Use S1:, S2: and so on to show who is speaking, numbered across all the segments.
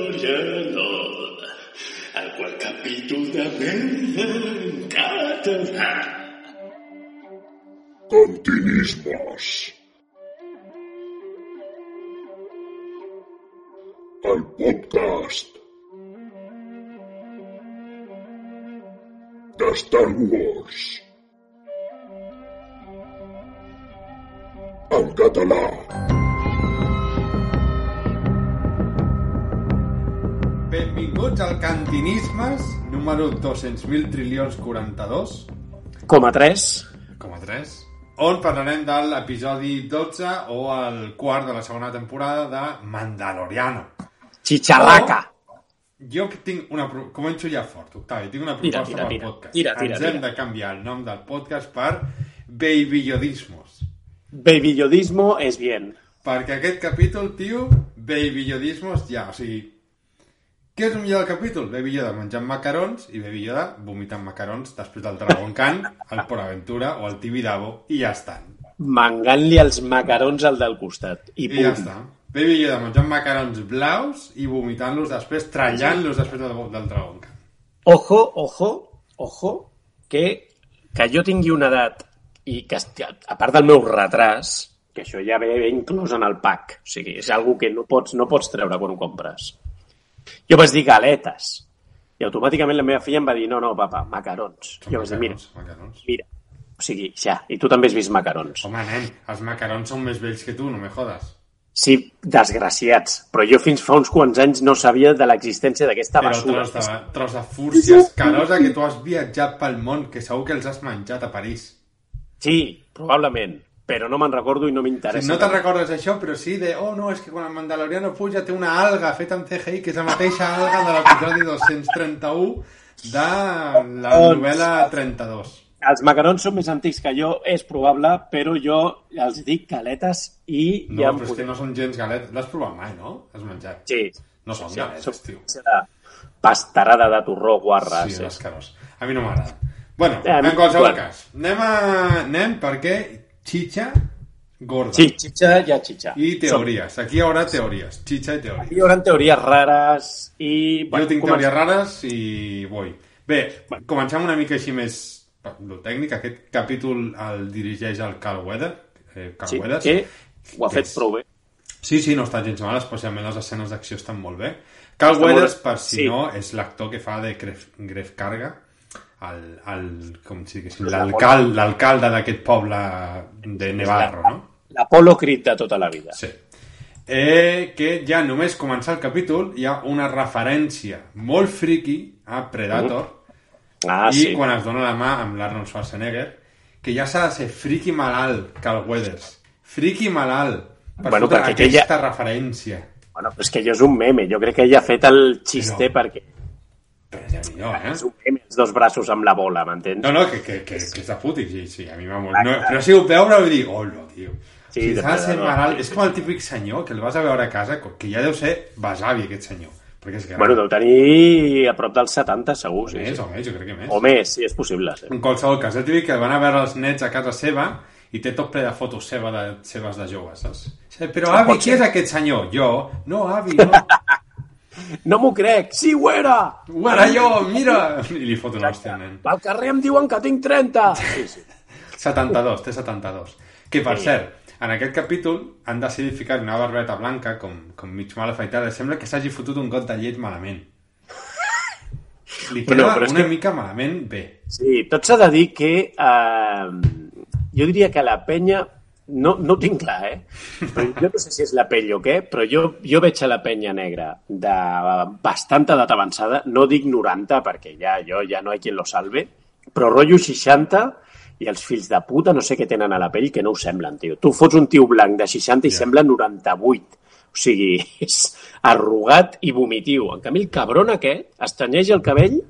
S1: Mandaloriano, al qual capítol de merda en català.
S2: Cantinismes. El podcast de Star Wars. En català.
S3: Benvinguts al Cantinismes, número 200.000 trilions 42,
S4: Com a 3.
S3: com a 3, on parlarem de l'episodi 12 o el quart de la segona temporada de Mandaloriano. Oh.
S4: Chicharraca.
S3: Jo que tinc una... Pro... Començo ja fort, Octavi. Tinc una
S4: Tira,
S3: proposta
S4: tira,
S3: pel
S4: tira.
S3: podcast.
S4: Tira, tira,
S3: Ens hem
S4: tira.
S3: de canviar el nom del podcast per Baby Yodismos.
S4: Baby Yodismo es bien.
S3: Perquè aquest capítol, tio, Baby Yodismos ja, o sigui... Què és el millor del capítol? Baby Yoda menjant macarons i Baby Yoda vomitant macarons després del Dragon Khan, el Port Aventura o el Tibidabo i ja estan.
S4: Mangant-li els macarons al del costat.
S3: I
S4: I, pum.
S3: ja està. Baby Yoda menjant macarons blaus i vomitant-los després, trallant-los després del, del Dragon Khan.
S4: Ojo, ojo, ojo, que, que jo tingui una edat i que, esti- a part del meu retras, que això ja ve, ve inclòs en el pack, o sigui, és algo que no pots, no pots treure quan ho compres. Jo vaig dir galetes, i automàticament la meva filla em va dir, no, no, papa, macarons.
S3: Són
S4: jo vaig dir, mira,
S3: macarons, macarons.
S4: mira, o sigui, ja, i tu també has vist macarons.
S3: Home, nen, els macarons són més vells que tu, no me jodes.
S4: Sí, desgraciats, però jo fins fa uns quants anys no sabia de l'existència d'aquesta
S3: Però
S4: basura.
S3: tros de, tros de fúrcia escarosa que tu has viatjat pel món, que segur que els has menjat a París.
S4: Sí, probablement, però no me'n recordo i no
S3: Sí,
S4: m'interessa.
S3: no te'n recordes això, però sí de... Oh, no, és que quan el Mandaloriano puja té una alga feta amb CGI, que és la mateixa alga de l'episodi 231 de la
S4: Doncs-
S3: novel·la 32.
S4: Els macarons són més antics que jo, és probable, però jo els dic galetes i
S3: No, ja
S4: ja em
S3: però és que no són gens galetes. L'has provat mai, no? Has menjat.
S4: Sí,
S3: No són
S4: sí,
S3: galetes, tio.
S4: serà pastarada de torró, guarra.
S3: Sí,
S4: Sí,
S3: les caros. A mi no m'agrada. Bueno,
S4: Eh, a mi
S3: en qualsevol
S4: igual.
S3: cas, anem, a... anem perquè xitxa gorda.
S4: sí xitxa i ja xitxa.
S3: I teories. Aquí hi haurà teories. Xitxa i teories.
S4: Som, hi haurà teories rares i...
S3: Jo tinc
S4: comencem.
S3: teories rares i vull. Bé, comencem una mica així més lo tècnic. Aquest capítol el dirigeix el Carl Weather. Eh, Carl
S4: Sí,
S3: Weathers.
S4: que ho ha
S3: Que
S4: fet
S3: és-
S4: prou bé.
S3: Sí, sí, no està gens mal, especialment les escenes d'acció estan molt bé. Carl
S4: Està molt
S3: Weathers,
S4: bé.
S3: per si
S4: Sí.
S3: no, és l'actor que fa de Gref, Gref Carga, el, el, com si diguéssim, l'alcal- l'alcalde d'aquest poble de Nevarro, no?
S4: L'Apolo Creed de tota la vida.
S3: Sí. Eh, que ja només començar el capítol hi ha una referència molt friqui a Predator,
S4: Ah,
S3: I
S4: sí.
S3: quan es dona la mà amb l'Arnold Schwarzenegger, que ja s'ha de ser friqui malalt, Carl Weathers. Friqui malalt. Per
S4: Bueno,
S3: bueno, fotre
S4: perquè aquella-
S3: aquesta referència.
S4: Bueno, però és que jo és un meme. Jo crec que ella ha fet el xiste
S3: No.
S4: perquè
S3: Però ja millor,
S4: és
S3: eh?
S4: un meme, els dos braços amb la bola, m'entens?
S3: No, no, que, que, que, que és de puti, sí, sí, a mi m'ha molt... No, però si ho veure, vull dir, hola, tio. Sí,
S4: Sí,
S3: si
S4: de
S3: s'ha de ser
S4: Predator.
S3: malalt... És com el típic senyor que el vas a veure a casa, que ja deu ser besavi, aquest senyor. Perquè és gran.
S4: Bueno, deu tenir a prop dels 70, segur. Sí,
S3: més
S4: sí.
S3: o més, jo crec que més.
S4: O més, sí, és possible. Sí.
S3: En qualsevol cas, el típic que van a veure els nets a casa seva i té tot ple de fotos seva de, seves de joves, saps? Sí, Però avi,
S4: pot
S3: qui
S4: ser.
S3: és aquest senyor? Jo? No, avi, no.
S4: No m'ho crec! Sí, ho era!
S3: Ho era jo, mira! I li fot una hòstia, nen.
S4: Pel carrer em diuen que tinc 30! Sí, sí.
S3: 72, té 72. Que, per
S4: Sí.
S3: cert, en aquest capítol han decidit ficar una barbeta blanca com, com mig mal afaitada. Sembla que s'hagi fotut un got de llet malament. Li
S4: Bueno,
S3: queda
S4: però és
S3: una
S4: que-
S3: mica malament bé.
S4: sí tot s'ha de dir que... Eh, jo diria que la penya... No, no ho tinc clar, eh? Però jo no sé si és la pell o què, però jo, jo veig a la penya negra de bastanta edat avançada, no dic 90, perquè ja jo ja no hi ha quien lo salve, però rotllo 60 i els fills de puta no sé què tenen a la pell que no ho semblen, tio. Tu fots un tio blanc de 60 i
S3: Ja.
S4: sembla 98. O sigui, és arrugat i vomitiu. En canvi, el cabron aquest es tenyeix el cabell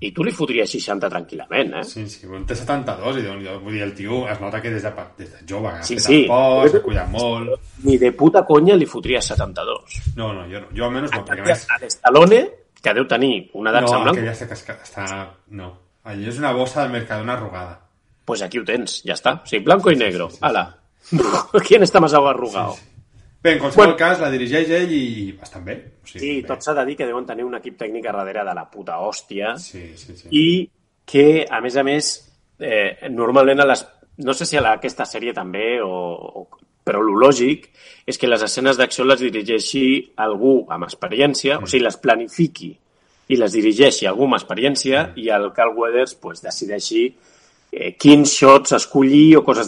S4: i tu li fotries 60 tranquil·lament, eh?
S3: Sí, sí, bueno, té 72 i déu nhi Vull dir, el tio es nota que des de, pa- des de jove ha
S4: Sí,
S3: fet
S4: sí.
S3: el por, s'ha cuidat molt...
S4: Ni de puta conya li fotria 72.
S3: No, no, jo, no. jo almenys no,
S4: En
S3: perquè a
S4: canvi,
S3: més...
S4: a l'Estalone, que deu tenir una edat
S3: No,
S4: no, semblant,
S3: aquella està, casca- està... No. Allò és una bossa del Mercadona arrugada.
S4: doncs pues aquí ho tens, ja està. O sigui, blanco i negro,
S3: sí, sí, sí.
S4: ala. ¿Quién está más arrugado?
S3: Sí, sí. Bé, en qualsevol
S4: Bueno.
S3: cas, la dirigeix ell i bastant bé. O sigui,
S4: Sí,
S3: bé.
S4: tot s'ha de dir que deuen tenir un equip tècnic a darrere de la puta hòstia
S3: Sí, sí, sí.
S4: i que, a més a més, eh, normalment a les... No sé si a la, aquesta sèrie també, o, o, però lo lògic és que les escenes d'acció les dirigeixi algú amb experiència,
S3: Mm.
S4: o sigui, les planifiqui i les dirigeixi algú amb
S3: Mm.
S4: experiència i el Carl Weathers pues, decideixi eh, quins shots escollir o coses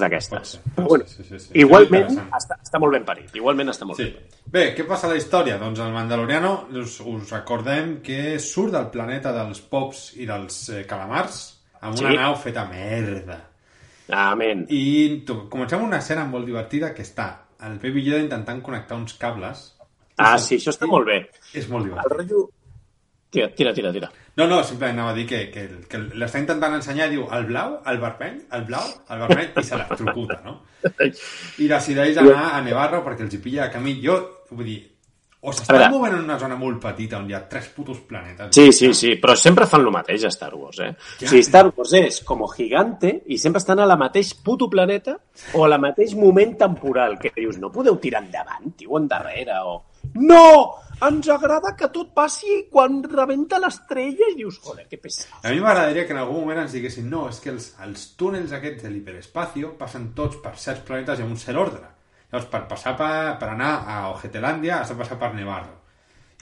S3: Pot
S4: d'aquestes.
S3: ser.
S4: Però bueno,
S3: Sí, sí, sí.
S4: igualment
S3: Interessant.
S4: està, està molt ben parit. Igualment està molt
S3: Sí.
S4: ben parit.
S3: Bé, què passa a la història? Doncs el Mandaloriano, us, us recordem que surt del planeta dels pops i dels eh, calamars amb una
S4: Sí.
S3: nau feta merda.
S4: Amén.
S3: I to- comencem una escena molt divertida que està el Baby Yoda intentant connectar uns cables.
S4: Ah, sí, això està molt bé.
S3: És molt
S4: El
S3: divertit.
S4: rotllo... Tira, tira, tira, tira.
S3: No, no, simplement anava a dir que, que, que l'està intentant ensenyar i diu el blau, el vermell, el blau, el vermell i se l'electrocuta, no? I decideix anar a Nevarra perquè els hi pilla a camí. Jo, vull dir, o
S4: A
S3: s'està
S4: veure.
S3: movent en una zona molt petita on hi ha tres putos planetes.
S4: Sí, sí, sí, però sempre fan el mateix a Star Wars, eh?
S3: Ja.
S4: O sigui, Star Wars és com gigante i sempre estan a la mateix puto planeta o a la mateix moment temporal que dius, no podeu tirar endavant, tio, endarrere, o... No! Ens agrada que tot passi quan rebenta l'estrella i dius, joder, que pesat.
S3: A mi m'agradaria que en algun moment ens diguessin no, és que els, els túnels aquests de l'hiperespacio passen tots per certs planetes en un cert ordre. Llavors, per passar per, per anar a Ojetelàndia has de passar per Nevarro.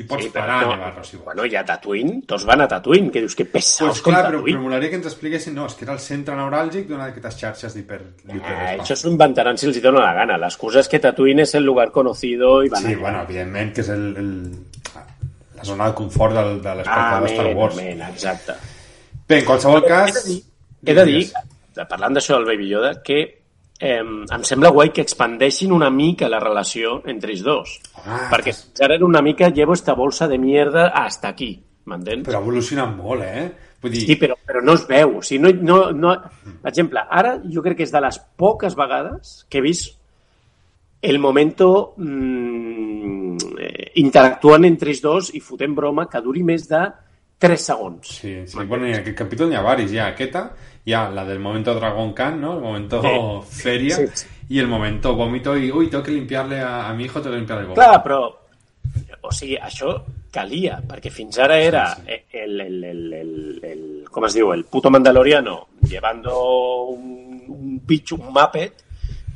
S3: I pots
S4: Sí,
S3: sí,
S4: però
S3: parar
S4: no.
S3: a Nevarro, si vols.
S4: Bueno, hi ha Tatooine, tots van a Tatooine, que dius, que pesats
S3: pues
S4: pues, com
S3: clar, però, però
S4: Tatooine.
S3: molaria que ens expliquessin, no, és que era el centre neuràlgic d'una d'aquestes xarxes d'hiper...
S4: Eh,
S3: d'hiperespacio.
S4: això s'ho inventaran si els hi dona la gana. L'excusa és que Tatooine és el lugar conocido i van
S3: Sí,
S4: allà.
S3: bueno, evidentment que és el, el, la zona de confort del, de l'espectador de
S4: Amén,
S3: Star Wars.
S4: amén, Ah, exacte.
S3: Bé, en qualsevol
S4: He de
S3: cas...
S4: dir, he de dir eh,
S3: Digues.
S4: parlant d'això del Baby Yoda, que eh, em sembla guai que expandeixin una mica la relació entre ells dos.
S3: Ah,
S4: perquè fins ara era una mica llevo esta bolsa de mierda hasta aquí, m'entens?
S3: Però evolucionen molt, eh? Vull dir,
S4: Sí, però, però no es veu. O sigui, no, no, no... Per exemple, ara jo crec que és de les poques vegades que he vist el momento mm, eh, interactuant entre ells dos i fotent broma que duri més de 3 segons.
S3: Sí, sí. Bueno, en aquest capítol n'hi ha varis. Hi ha aquesta, hi ha la del momento Dragon Khan, ¿no? El momento feria
S4: Sí, sí.
S3: y el momento vómito y, uy, tengo que limpiarle a, a mi hijo, tengo que limpiarle el vómito.
S4: Clar, però... O sigui, això calia, perquè fins ara era
S3: Sí,
S4: el, el, el, el, el, com es diu, el puto mandaloriano llevando un, un bitxo, un muppet,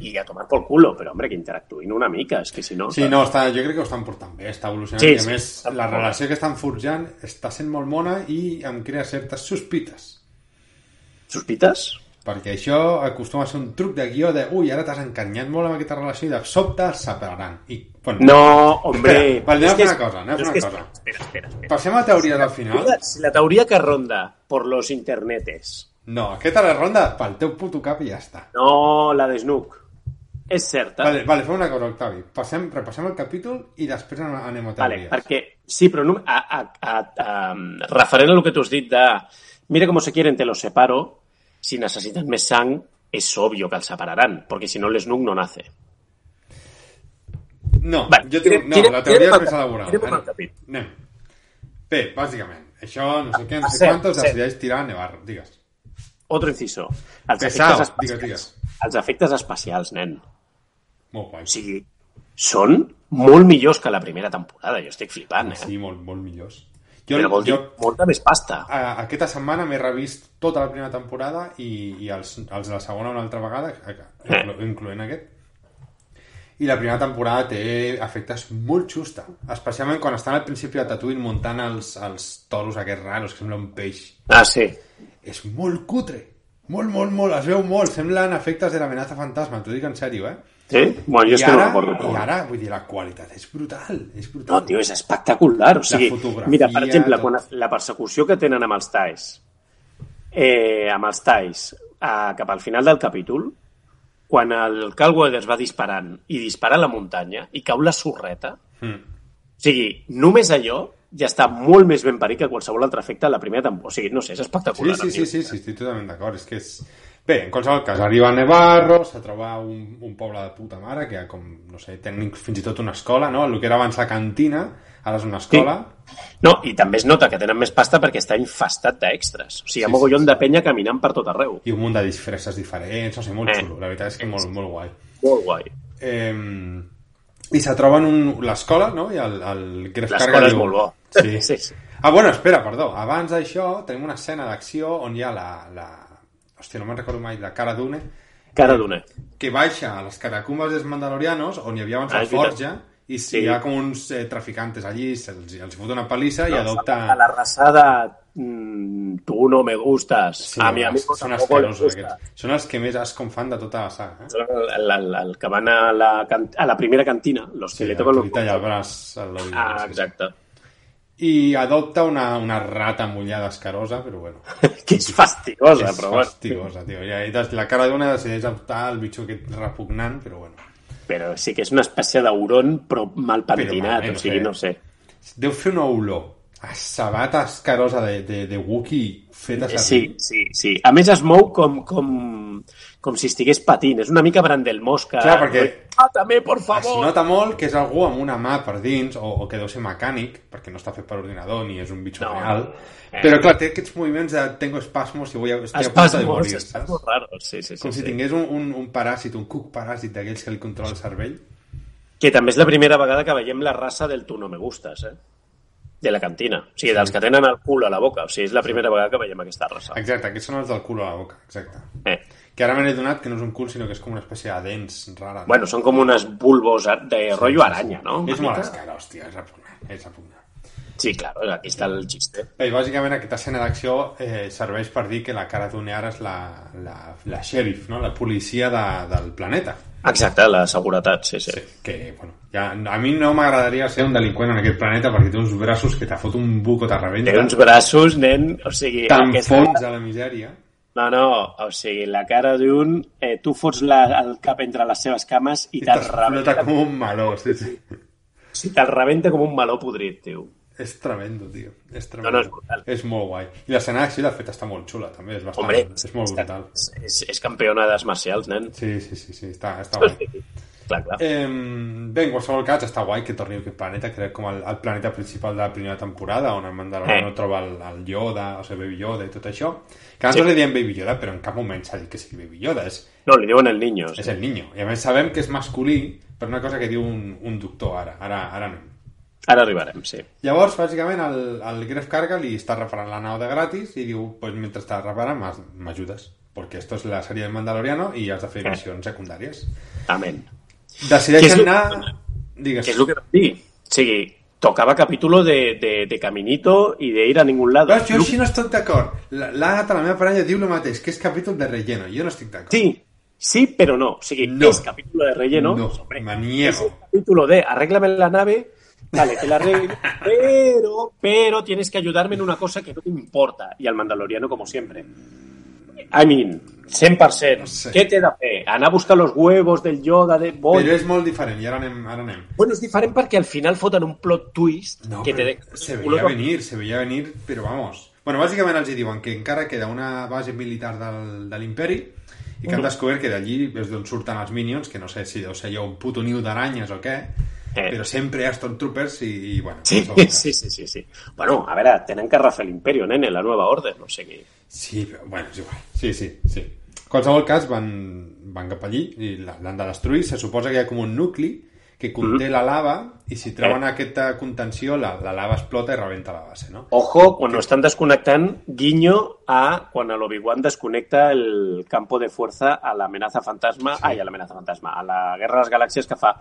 S4: i a tomar pel culo, però, hombre, que interactuïn una mica, és que si no...
S3: Sí, no, està, jo crec que ho estan portant bé, està evolucionant.
S4: Sí,
S3: Sí, I a
S4: sí,
S3: més,
S4: està
S3: la
S4: molt
S3: relació que estan forjant està sent molt mona i em crea certes sospites.
S4: Sospites?
S3: Perquè això acostuma a ser un truc de guió de ui, ara t'has encanyat molt amb aquesta relació i de sobte es separaran. I, bueno,
S4: No, hombre.
S3: Espera, vale, anem a
S4: És que
S3: fer una
S4: és-
S3: cosa, anem a fer
S4: és
S3: una
S4: que és-
S3: cosa.
S4: Espera, espera, espera.
S3: passem a teories al final.
S4: Si la teoría que ronda por los internetes,
S3: No, aquesta la ronda pel teu puto cap i ja està.
S4: no la de Snook, es cierta.
S3: Vale, vale, fem una cosa, Octavi. Passem, repassem el capítol i després anem- anem a
S4: Vale,
S3: teories.
S4: perquè sí, però no- a, a, a, a, referent a lo que tú has dit de mira cómo se quieren, te los separo, si necessitan més sang, és obvio que els separaran, perquè si no l'Snook no nace.
S3: No,
S4: Vale,
S3: jo tinc...
S4: tirem-
S3: No,
S4: tirem-
S3: la teoria
S4: tirem
S3: és
S4: pel
S3: més
S4: cap-
S3: elaborada.
S4: tirem pel
S3: Anem.
S4: capítol.
S3: Anem. Bé, bàsicament, això no sé què,
S4: Ah,
S3: no sé
S4: cert,
S3: quantos,
S4: cert.
S3: decideix tirar a Nevarro. Digues.
S4: Otro inciso. Els
S3: Pesao,
S4: efectes
S3: digues,
S4: espacials. Els efectes espacials, nen.
S3: Molt guai.
S4: O sigui, són molt millors que la primera temporada. Jo estic flipant, eh?
S3: Sí, molt, molt millors. Jo,
S4: Però vol dir
S3: jo
S4: molta més pasta.
S3: a, aquesta setmana m'he revist tota la primera temporada i, i els, els de la segona una altra vegada, a- a- inclo- incloent aquest. I la primera temporada té efectes molt justa, especialment quan estan al principi de Tatooine muntant els, els toros aquests raros, que sembla un peix.
S4: Ah, sí.
S3: És molt cutre, molt, molt, molt, es veu molt, semblen efectes de l'amenaça fantasma, t'ho dic en sèrio, eh?
S4: Sí? Bueno, jo és
S3: I
S4: que no
S3: ara,
S4: recordo.
S3: I
S4: Però...
S3: ara, vull dir, la qualitat és brutal, és brutal.
S4: No, tio, és espectacular. O sigui,
S3: fotografia,
S4: mira, per exemple,
S3: tot.
S4: quan es- la persecució que tenen amb els tais, eh, amb els tais, eh, cap al final del capítol, quan el Cal Weathers va disparant i dispara a la muntanya i cau la sorreta,
S3: Mm.
S4: O sigui, només allò ja està molt més ben parit que qualsevol altre efecte de la primera temporada. O sigui, no sé, és
S3: Sí,
S4: espectacular.
S3: sí, sí, sí, sí, estic totalment d'acord. És que és... Bé, en qualsevol cas, arriba a Nevarro, se troba un, un poble de puta mare que, com, no sé, tenen fins i tot una escola, no? El que era abans la cantina, ara és una escola.
S4: No, i també es nota que tenen més pasta perquè està infestat d'extres. O sigui,
S3: Sí,
S4: hi ha mogollon
S3: sí,
S4: de penya caminant per tot arreu.
S3: I un munt de disfresses diferents, no sé, molt
S4: Eh.
S3: xulo. La veritat és que molt, molt guai.
S4: Molt guai.
S3: Eh, I se troben un, l'escola, no? I el, el Gref
S4: L'escola
S3: Carga
S4: és
S3: diu-
S4: molt bo.
S3: Sí.
S4: Sí, sí.
S3: Ah, bueno, espera, perdó. Abans d'això tenim una escena d'acció on hi ha la... la... Hòstia, no me'n recordo mai, la cara d'une,
S4: Cara d'una.
S3: que baixa a les catacumbes dels mandalorianos, on hi havia abans
S4: Ah,
S3: la
S4: és veritat.
S3: forja, i
S4: Sí.
S3: hi ha com uns eh, traficantes allí, se'ls els fot una palissa i adopta...
S4: A la rasada, mm, tú no me gustas.
S3: Sí,
S4: a mi amigo
S3: són
S4: tampoco le
S3: asquerosos
S4: gusta.
S3: aquests. Són els que més asco em fan de tota la saga. Eh?
S4: El, el- el que van a la, can- a la primera cantina, los que
S3: Sí,
S4: le
S3: la
S4: tocan los...
S3: truita i el braç a l'oïdor.
S4: Ah,
S3: sí, sí.
S4: exacte.
S3: I adopta una, una rata mullada escarosa, però bueno.
S4: Que és fastigosa,
S3: és
S4: però bueno.
S3: fastigosa, tio. I ahí des- la cara d'una decideix adoptar el bitxo aquest repugnant, però bueno.
S4: Però sí que és una espècie d'auron, però mal pentinat,
S3: malament,
S4: o sigui,
S3: eh?
S4: no sé.
S3: Deu fer una olor a sabata escarosa de, de, de Wookiee feta
S4: Eh,
S3: servir.
S4: Sí, sí, sí. A més es mou com, com, com si estigués patint. És una mica Brandel Mosca.
S3: Clar, perquè-
S4: Ah, també, por
S3: Es
S4: favor!
S3: nota molt que és algú amb una mà per dins, o, o que deu ser mecànic, perquè no està fet per ordinador ni és un bitxo
S4: No.
S3: real.
S4: Eh.
S3: Però clar, té aquests moviments de tengo espasmos i voy a... Estic a punta de
S4: Espasmos,
S3: morir, saps?
S4: espasmos raros. Sí, sí, sí,
S3: Com si
S4: sí.
S3: tingués un, un, un paràsit, un cuc paràsit d'aquells que li controla el cervell.
S4: Que també és la primera vegada que veiem la raça del tu no me gustas, eh? De la cantina. O sigui, dels que tenen el cul a la boca. O sigui, és la primera vegada que veiem aquesta raça.
S3: Exacte, aquests són els del cul a la boca, exacte.
S4: Eh.
S3: Que ara me n'he donat que no és un cul, sinó que és com una espècie de dents rara.
S4: Bueno, són com unes bulbos de rotllo aranya, no?
S3: és
S4: Una
S3: molt
S4: mica.
S3: escara, hòstia, és repugnant, és repugnant.
S4: Sí, clar, aquí està el xiste.
S3: Bé, i bàsicament aquesta escena d'acció eh, serveix per dir que la cara d'Une ara és la, la, la sheriff, no? la policia de, del planeta.
S4: Exacte, la seguretat, sí, sí.
S3: Sí, que, bueno, ja, a mi no m'agradaria ser un delinqüent en aquest planeta perquè té uns braços que te fot un buco, te
S4: Té
S3: rebenta,
S4: uns braços, nen, o sigui...
S3: t'enfonsa a la misèria.
S4: No, no, o sigui, la cara d'un... Eh, tu fots la, el cap entre les seves cames i
S3: I
S4: te'l
S3: t'explota
S4: rebenta,
S3: com un meló, sí, sí.
S4: o sigui, te'l rebenta com un meló podrit, tio.
S3: És tremendo, tio. És tremendo.
S4: No, no, és brutal.
S3: És molt guai. I l'escena d'acció, de fet, està molt xula, també. És, bastant,
S4: Hombre,
S3: Ah, doncs és molt brutal.
S4: És, és, és campiona d'arts marcials, nen.
S3: Sí, sí, sí, sí està, està
S4: O
S3: guai.
S4: sigui, clar, clar.
S3: Eh, bé, en qualsevol cas, està guai que torni a aquest planeta, que era com el, el planeta principal de la primera temporada, on el Mandaloriano
S4: Eh.
S3: troba el, el Yoda, o sigui, Baby Yoda i tot això. Que nosaltres
S4: Sí.
S3: li diem Baby Yoda, però en cap moment s'ha dit que sigui Baby Yoda, és,
S4: No, li diuen el niño. O
S3: és
S4: sigui.
S3: el niño. I a més sabem que és masculí per una cosa que diu un, un doctor ara, ara, ara anem.
S4: Ara arribarem, sí.
S3: Llavors, bàsicament, el, el Gref Carga li està reparant la nau de gratis i diu, pues mentre està reparant m'as- m'ajudes, perquè esto és la sèrie del Mandaloriano i has de fer
S4: Eh.
S3: missions secundàries.
S4: Amén. Que és
S3: Decideixen
S4: lo-
S3: anar... Digues.
S4: Que es lo que vam dir. O sigui, tocava capítulo de, de, de caminito i de ir a ningún lado.
S3: Veus, jo
S4: Lu-
S3: així no estic d'acord. La- L'Àgata, la meva parella, diu el mateix, que és capítol de relleno. Jo no estic d'acord.
S4: Sí, sí, pero no. O sigui,
S3: No.
S4: es capítulo de relleno. pues,
S3: No,
S4: Hombre,
S3: me niego.
S4: es el capítulo de arréglame la nave, vale, te la arreglo, pero, pero tienes que ayudarme en una cosa que no te importa. Y al mandaloriano, como siempre. I mean, 100%.
S3: sé.
S4: ¿Qué te da fe? Anar a buscar los huevos del Yoda, de... Voy,
S3: Però és molt diferent, i ara anem... Ara anem.
S4: Bueno, és diferent perquè al final foten un plot twist
S3: No,
S4: que te
S3: però
S4: deja...
S3: se veia venir, se veia venir, però vamos. Bueno, bàsicament els hi diuen que encara queda una base militar del, de l'imperi i que han descobert que d'allí és d'on surten els Minions, que no sé si deu ser allò un puto niu d'aranyes o què,
S4: Eh.
S3: però sempre hi ha Stormtroopers i, i bueno...
S4: Sí,
S3: qualsevol cas.
S4: sí, sí, sí, sí. Bueno, a ver, tienen que arrasar el imperio, nene, la nueva orden, no sé qué.
S3: Sí, però, bueno, és igual. Sí, sí, sí. En qualsevol cas, van, van cap allí i la- l'han de destruir. Se suposa que hi ha com un nucli que conté la lava i si treuen aquesta contenció, la, la lava explota i rebenta la base, no?
S4: Ojo, cuando están desconectando, guiño a cuando el Obi-Wan desconecta el campo de fuerza a la amenaza fantasma, ay, a la amenaza fantasma, a la guerra de las galaxias que fa...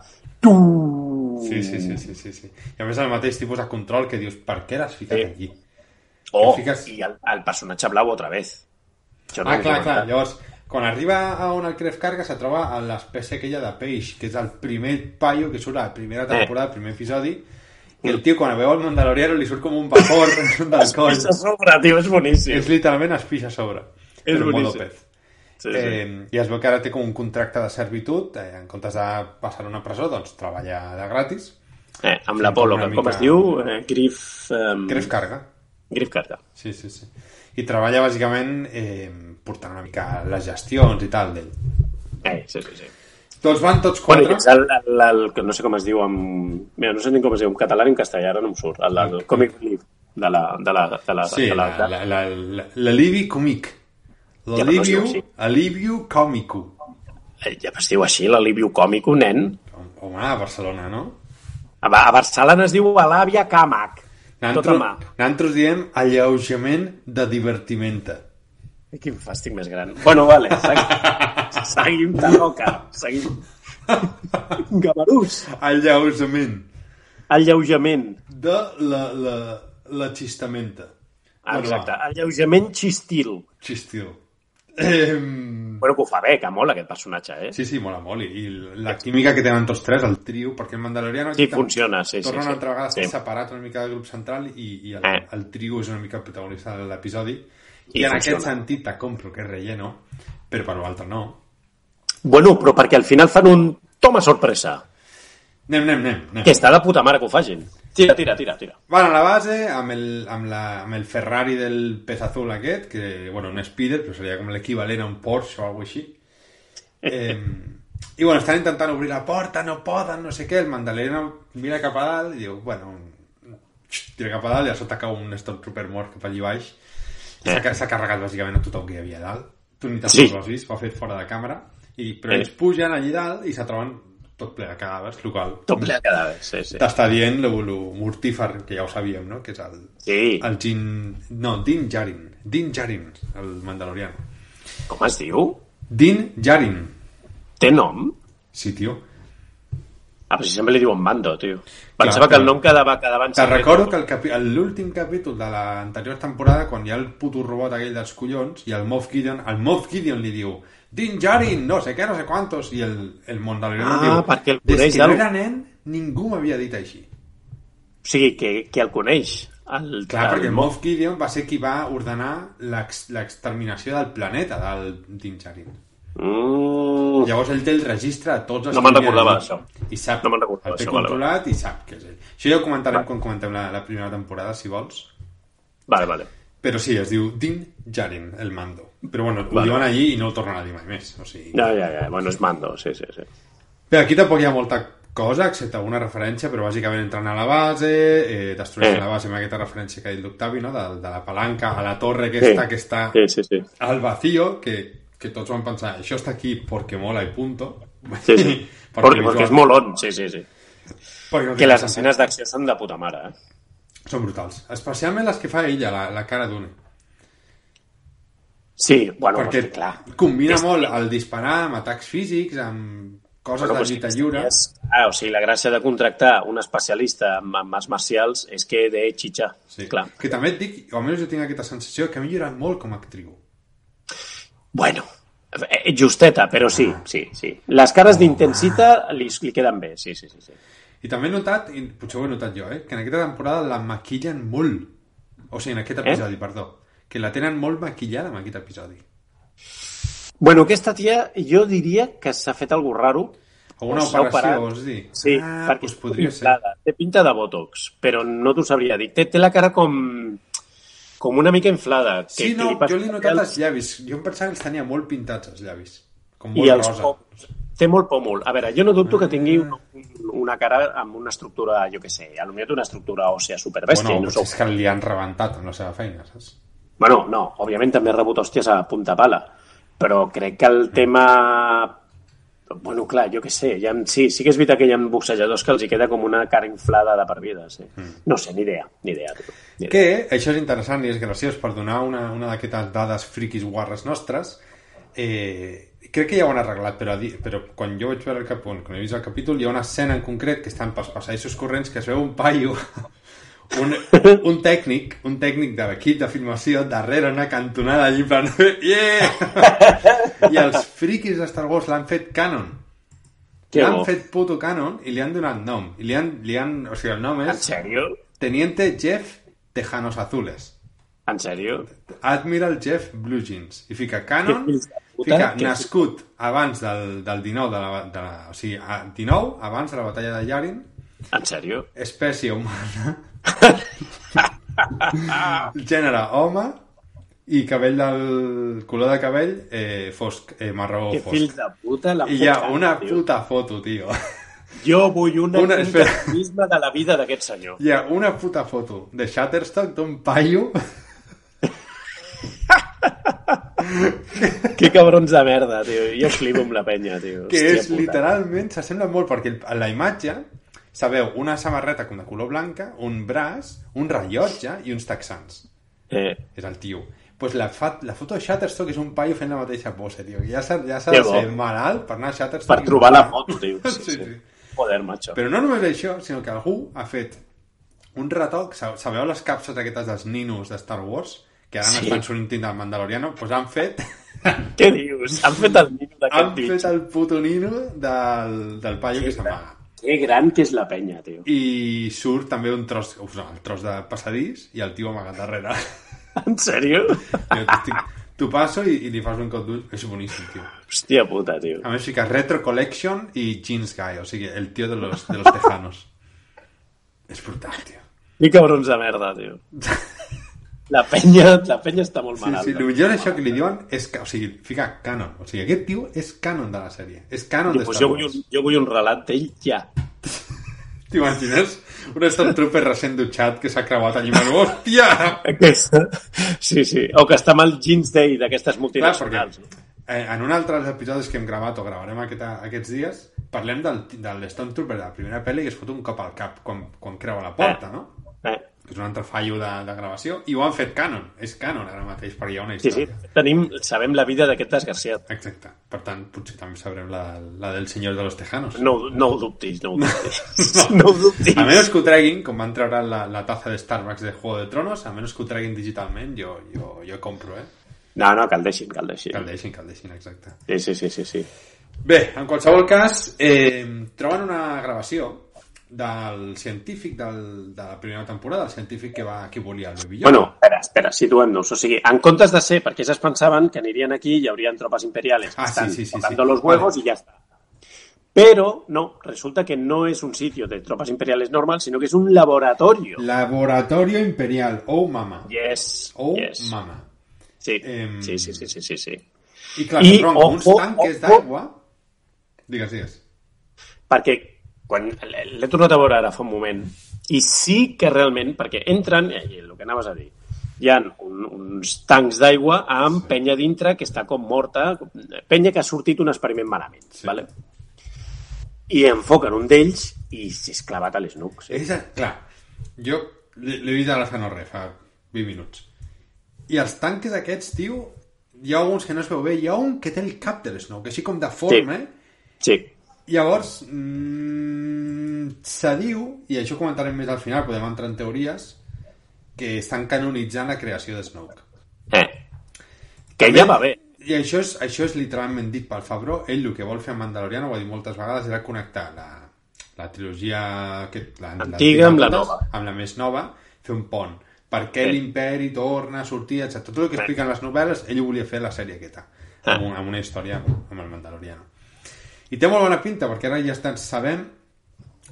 S4: ¡Tum!
S3: Sí, sí, sí, sí, sí, sí. I a més el mateix tipus de control que dius, per què l'has ficat
S4: Sí.
S3: aquí?
S4: Oh,
S3: Fiques-
S4: y al, al personaje blau otra vez. Yo no
S3: Ah,
S4: digo
S3: clar, clar.
S4: nada.
S3: Llavors, quan arriba a on el Cref Carga se troba a l'espècie aquella de peix, que és el primer paio que surt a la primera temporada, el primer episodi, i el tio, quan veu el Mandaloriano, li surt com un vapor del coll.
S4: Esa sobra, tío, es buenísimo.
S3: És literalment es pixa a sobre.
S4: És
S3: Però en modo
S4: boníssim.
S3: pez.
S4: Sí, sí.
S3: Eh, I es veu que ara té com un contracte de servitud, eh, en comptes de passar a una presó, doncs treballa de gratis.
S4: Eh, amb l'Apolo,
S3: una
S4: que com
S3: mica-
S4: es diu? Eh, Griff... Eh,
S3: Cref Carga.
S4: Griff Carter.
S3: Sí, sí, sí. I treballa bàsicament eh, portant una mica les gestions i tal d'ell.
S4: Eh, sí, sí, sí.
S3: Tots van, tots
S4: Bueno,
S3: quatre.
S4: i és el, el, el, que no sé com es diu en... Mira, no sé ni com es diu en català ni en castellà, ara no em surt. El, el comic relief de la... De la, de la,
S3: Mm. Sí,
S4: de la,
S3: la- la- la- la- l'alivi còmic.
S4: Ja, però no es diu
S3: L'aliviu
S4: així.
S3: aliviu còmico.
S4: Eh, Ja es diu així, l'aliviu còmico, nen.
S3: Home, a Barcelona, no?
S4: A, Ba- a Barcelona es diu a l'àvia Càmac. Tota mà.
S3: Nantros, nantros diem alleujament de divertimenta.
S4: Quin fàstic més gran. Bueno, vale, seguim. seguim de roca. Seguim. Gavarús.
S3: Alleujament
S4: Alleujament.
S3: de la, la, la xistamenta. Bueno,
S4: Ah, Exacte.
S3: va,
S4: Alleujament xistil.
S3: Xistil. Eh,
S4: Bueno, que ho fa bé, que mola aquest personatge, eh?
S3: Sí, sí, mola molt. I la química que tenen tots tres, el trio, perquè el Mandaloriano...
S4: Sí,
S3: tam-
S4: funciona, sí, sí,
S3: Torna
S4: sí.
S3: una altra vegada, està
S4: Sí.
S3: separat una mica del grup central i, i el,
S4: Eh.
S3: el trio és una mica el protagonista de l'episodi. I,
S4: I
S3: en aquest
S4: funciona.
S3: sentit te compro que és relleno, però per l'altre no.
S4: Bueno, però perquè al final fan un toma sorpresa.
S3: Anem, anem, anem. anem.
S4: Que està de puta mare que ho facin. Tira, tira, tira, tira.
S3: Van a la base amb el, amb, la, amb el Ferrari del pes azul aquest, que, bueno, un Spider, però seria com l'equivalent a un Porsche o alguna així. Eh, I, bueno, estan intentant obrir la porta, no poden, no sé què, el Mandaloriano mira cap a dalt i diu, bueno, tira cap a dalt i a sota cau un Stormtrooper mort cap allí baix. S'ha ca- s'ha carregat bàsicament a tothom que hi havia a dalt. Tu ni tan
S4: Eh. Sí.
S3: sols ho has vist, ho ha fet fora de càmera. I, però
S4: Eh.
S3: ells pugen allí dalt i se troben tot ple de cadàvers, el qual
S4: Tot ple de cadàvers, sí, sí.
S3: T'està dient lo, lo mortífer, que ja ho sabíem, no? Que és el...
S4: Sí,
S3: El Jin... No, Din Djarin. Din Djarin, el mandaloriano.
S4: com es diu?
S3: Din Djarin.
S4: Té nom?
S3: Sí, tio.
S4: Ah, però si sempre li diuen Mando, tio.
S3: Clar,
S4: Pensava que
S3: clar.
S4: el nom quedava, quedava en
S3: Te
S4: secret.
S3: recordo que el capi- el- l'últim capítol de l'anterior temporada, quan hi ha el puto robot aquell dels collons, i el Moff Gideon, el Moff Gideon li diu Din Djarin, no sé què, no sé quantos, i el, el mandaloriano
S4: Ah,
S3: diu...
S4: perquè el
S3: Des
S4: coneix
S3: que no
S4: d'algú."
S3: era nen, ningú m'havia dit així.
S4: O sigui, que, que el coneix. El,
S3: Clar,
S4: el,
S3: perquè Moff Gideon va ser qui va ordenar l'ex- l'exterminació del planeta del Din Djarin.
S4: Mm,
S3: Llavors ell té el registre de tots els...
S4: No me'n
S3: que hi havia
S4: recordava,
S3: allà. I sap,
S4: No me'n recordava,
S3: el té
S4: això, vale,
S3: controlat i sap que és ell. Això ja ho comentarem quan comentem la, la primera temporada, si vols.
S4: vale, vale.
S3: Però sí, es diu Din Djarin, el mando. Però bueno, ho
S4: Vale.
S3: diuen allí i no ho tornen a dir mai més. O sigui...
S4: Ja, ja, ja. Bueno, és Mando, sí, sí, sí.
S3: Bé, aquí tampoc hi ha molta cosa, excepte alguna referència, però bàsicament entren a la base, eh, destrueixen
S4: Eh.
S3: la base amb aquesta referència que ha dit l'Octavi, no? De, de la palanca a la torre aquesta que està
S4: Sí, sí, sí.
S3: al vacío, que, que tots van pensar, això està aquí perquè mola i punto.
S4: sí, sí. Perquè, perquè és molt on, sí, sí, sí.
S3: Perquè no té
S4: Que les
S3: cap sentit.
S4: escenes d'acció són de puta mare, eh?
S3: Són brutals. Especialment les que fa ella, la, la cara d'una.
S4: Sí, bueno,
S3: perquè
S4: perquè, clar.
S3: combina
S4: Aquesta-
S3: molt el disparar amb atacs físics, amb coses de
S4: Bueno, però doncs, és que
S3: lluita
S4: aquestes
S3: lliure.
S4: idees- Ah, o sigui, la gràcia de contractar un especialista en en arts marcials és que de xitxar,
S3: Sí.
S4: clar.
S3: Que també et dic, o almenys jo tinc aquesta sensació, que ha millorat molt com a actriu.
S4: Bueno, eh, justeta, però sí,
S3: Ah.
S4: sí, sí. Les cares d'intensita li, li queden bé, sí, sí, sí. sí.
S3: I també he notat, i potser ho he notat jo, eh, que en aquesta temporada la maquillen molt. O sigui, en aquest
S4: Eh?
S3: episodi, perdó. Que la tenen molt maquillada en aquest episodi.
S4: Bueno, aquesta tia jo diria que s'ha fet algo raro.
S3: Alguna
S4: O s'ha
S3: operació,
S4: operat.
S3: vols dir?
S4: Sí,
S3: ah,
S4: perquè
S3: doncs
S4: està
S3: podria ser.
S4: inflada. Té pinta de botox, però no t'ho sabria dir. Té, té la cara com com una mica inflada. Que,
S3: Sí,
S4: que
S3: no,
S4: passa
S3: jo li he notat
S4: el-
S3: els llavis. Jo em pensava que els tenia molt pintats, els llavis. Com
S4: I
S3: molt
S4: els
S3: rosa.
S4: pòmuls. Té molt pòmul. A veure, jo no dubto que tingui un, un- una cara amb una estructura, jo què sé, a lo millor té una estructura òssea superbèstia.
S3: Bueno,
S4: no,
S3: no
S4: sou...
S3: és que li han rebentat amb la seva feina, saps?
S4: bueno, no, òbviament també ha rebut hòsties a punta pala, però crec que el tema... Bueno, clar, jo què sé, ja, sí, sí que és veritat que hi ha boxejadors que els hi queda com una cara inflada de per vida, sí.
S3: Mm.
S4: No sé, ni idea, ni idea. tio, Ni idea.
S3: Que això és interessant i és graciós per donar una, una d'aquestes dades friquis guarres nostres. Eh, crec que ja ho han arreglat, però, a di- però quan jo vaig veure el cap, quan quan he vist el capítol, hi ha una escena en concret que estan pels passadissos corrents que es veu un paio, un, un tècnic, un tècnic de l'equip de filmació darrere una cantonada allí, en plan, yeah! I els friquis de Star Wars l'han fet canon.
S4: Que
S3: L'han
S4: bo.
S3: fet puto canon i li han donat nom. I li han, li han, o sigui, el nom
S4: En
S3: és
S4: sèrio?
S3: Teniente Jeff Tejanos Azules.
S4: En sèrio?
S3: Admiral Jeff Blue Jeans. I fica Canon,
S4: Que fills de puta,
S3: fica
S4: que-
S3: nascut abans del, del 19, de la, de la, o sigui, a 19, abans de la batalla de Yarin,
S4: En sèrio?
S3: espècie humana, gènere home i cabell del color de cabell eh, fosc, eh, marró
S4: Que
S3: fosc.
S4: fills de puta, la
S3: I hi ha
S4: puta,
S3: una
S4: tio.
S3: puta foto, tio.
S4: Jo vull
S3: Una-
S4: una, una... un
S3: espera.
S4: cataclisme de la vida d'aquest senyor.
S3: Hi ha una puta foto de Shutterstock d'un paio
S4: Que cabrons de merda, tio. Jo flipo amb la penya, tio.
S3: que
S4: Hòstia
S3: és
S4: puta.
S3: literalment, s'assembla molt perquè el- a la imatge se veu una samarreta com de color blanca, un braç, un rellotge i uns texans.
S4: Eh,
S3: És el tio. Pues la, fa, la foto de Shutterstock és un paio fent la mateixa pose, tio. Ja s'ha ja s'ha
S4: Que
S3: de
S4: bo.
S3: ser malalt per anar a Shutterstock.
S4: per
S3: i
S4: trobar la
S3: buscar.
S4: foto, tio. Sí, sí.
S3: Sí, sí.
S4: Joder, macho.
S3: Però no només això, sinó que algú ha fet un retoc, sa- sabeu les capses aquestes dels ninos de Star Wars? Que ara
S4: Sí.
S3: sí. estan sortint del Mandaloriano, doncs pues han fet
S4: Què dius? Han fet el nino
S3: han
S4: d'aquest
S3: fet
S4: bitxo.
S3: el puto nino del, del paio que se'n va.
S4: Que gran que és la penya, tio.
S3: I surt també un tros, uf, no, el tros de passadís i el tio amagat darrere.
S4: En sèrio?
S3: Jo t'estic- T'ho passo i, i li fas un cop d'ull. És boníssim, tio.
S4: Hòstia puta, tio.
S3: A més, fica Retro Collection i Jeans Guy, o sigui, el tio de los, de los tejanos. És brutal, tio.
S4: Que cabrons de merda, tio. La penya, la penya està molt
S3: Sí,
S4: malalt. eh.
S3: sí, el millor d'això que li diuen és que, o sigui, fica canon. O sigui, aquest tio és canon de la sèrie. És canon de
S4: Pues
S3: Star
S4: jo, vull
S3: Wars.
S4: un, jo vull un relat d'ell ja.
S3: T'imagines? Un Stormtrooper recent dutxat que s'ha creuat allà i hòstia!
S4: Aquesta. Sí, sí. O que està amb el jeans day d'aquestes
S3: Clar, perquè
S4: multinacionals. no?
S3: eh, en un altre dels episodis que hem gravat o gravarem aquest, aquests dies, parlem del, del Stormtrooper de la primera pel·li que es fot un cop al cap quan, quan creua la porta,
S4: Eh.
S3: no?
S4: Eh,
S3: Que és un altre fallo de, de gravació. I ho han fet canon. És canon ara mateix, perquè hi ha una
S4: sí, sí.
S3: història.
S4: Tenim, sabem la vida d'aquest desgraciat.
S3: Exacte. Per tant, potser també sabrem la, la del Senyor de los Tejanos.
S4: No, ho- no ho dubtis, no ho dubtis. No, ho dubtis.
S3: A menos que ho treguin, com van treure la, la taza de Starbucks de Juego de Tronos, a menos que ho treguin digitalment, jo, jo, jo compro, eh?
S4: No, no, que el deixin, que el deixin.
S3: Que el deixin, que el deixin, exacte.
S4: Sí, sí, sí, sí, sí.
S3: Bé, en qualsevol cas, eh, troben una gravació del científic del, de la primera temporada, el científic que va que volia el bebilló.
S4: Bueno, espera, espera, situem-nos. O sigui, en comptes de ser, perquè ells es pensaven que anirien aquí i hi haurien tropes imperiales que
S3: Ah, sí,
S4: estan
S3: sí, sí,
S4: tocando
S3: sí.
S4: los huevos
S3: Vale.
S4: y ya está. Pero, no, resulta que no es un sitio de tropas imperiales normal, sino que es un laboratorio.
S3: Laboratorio Imperial, oh mama.
S4: Yes,
S3: Oh
S4: yes.
S3: mama.
S4: Sí.
S3: Em.
S4: sí, sí, sí, sí, sí, sí.
S3: I clar,
S4: I,
S3: I, troben uns
S4: ojo,
S3: tanques
S4: ojo.
S3: d'aigua... Digues, digues.
S4: perquè quan l'he tornat a veure ara fa un moment i sí que realment, perquè entren, eh, i el que anaves a dir, hi ha un, uns tancs d'aigua amb penya dintre que està com morta, penya que ha sortit un experiment malament,
S3: Sí.
S4: sí. vale? i enfoquen un d'ells i s'és clavat a les nucs. Eh?
S3: És, clar, jo l'he l'he vist a la Sanorre fa 20 minuts. I els tanques aquests, tio, hi ha alguns que no es veu bé. Hi ha un que té el cap de l'Snoke, així com deforme.
S4: Sí,
S3: Llavors, mmm, se diu, i això ho comentarem més al final, podem entrar en teories, que estan canonitzant la creació de Snoke.
S4: eh. que ja va bé.
S3: I això és, això és literalment dit pel Fabro. Ell el que vol fer amb Mandalorian, ho ha dit moltes vegades, era connectar la, la trilogia aquest, la,
S4: Antiga amb la
S3: totes,
S4: nova.
S3: Amb la més nova, fer un pont. Per què
S4: Sí.
S3: l'imperi torna a sortir, etc. Tot el que
S4: Sí.
S3: expliquen les novel·les, ell ho volia fer a la sèrie aquesta,
S4: Ah.
S3: amb, un, amb una història amb, amb el Mandaloriano. I té molt bona pinta, perquè ara ja estan, sabem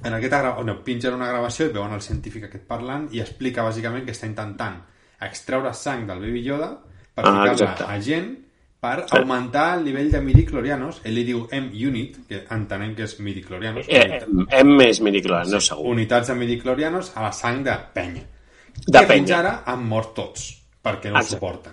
S3: en aquesta gra... on pingen una gravació i veuen el científic aquest parlant i explica bàsicament que està intentant extreure sang del Baby Yoda per
S4: Ah,
S3: ah,
S4: exacte.
S3: ficar-la a gent per augmentar el nivell de midiclorianos ell li diu M-unit que entenem que és midiclorianos
S4: Eh, eh, M és miniclar, no segur.
S3: unitats de midiclorianos a la sang de penya
S4: De
S3: que fins
S4: penya.
S3: ara han mort tots perquè no ho
S4: Exacte.
S3: suporten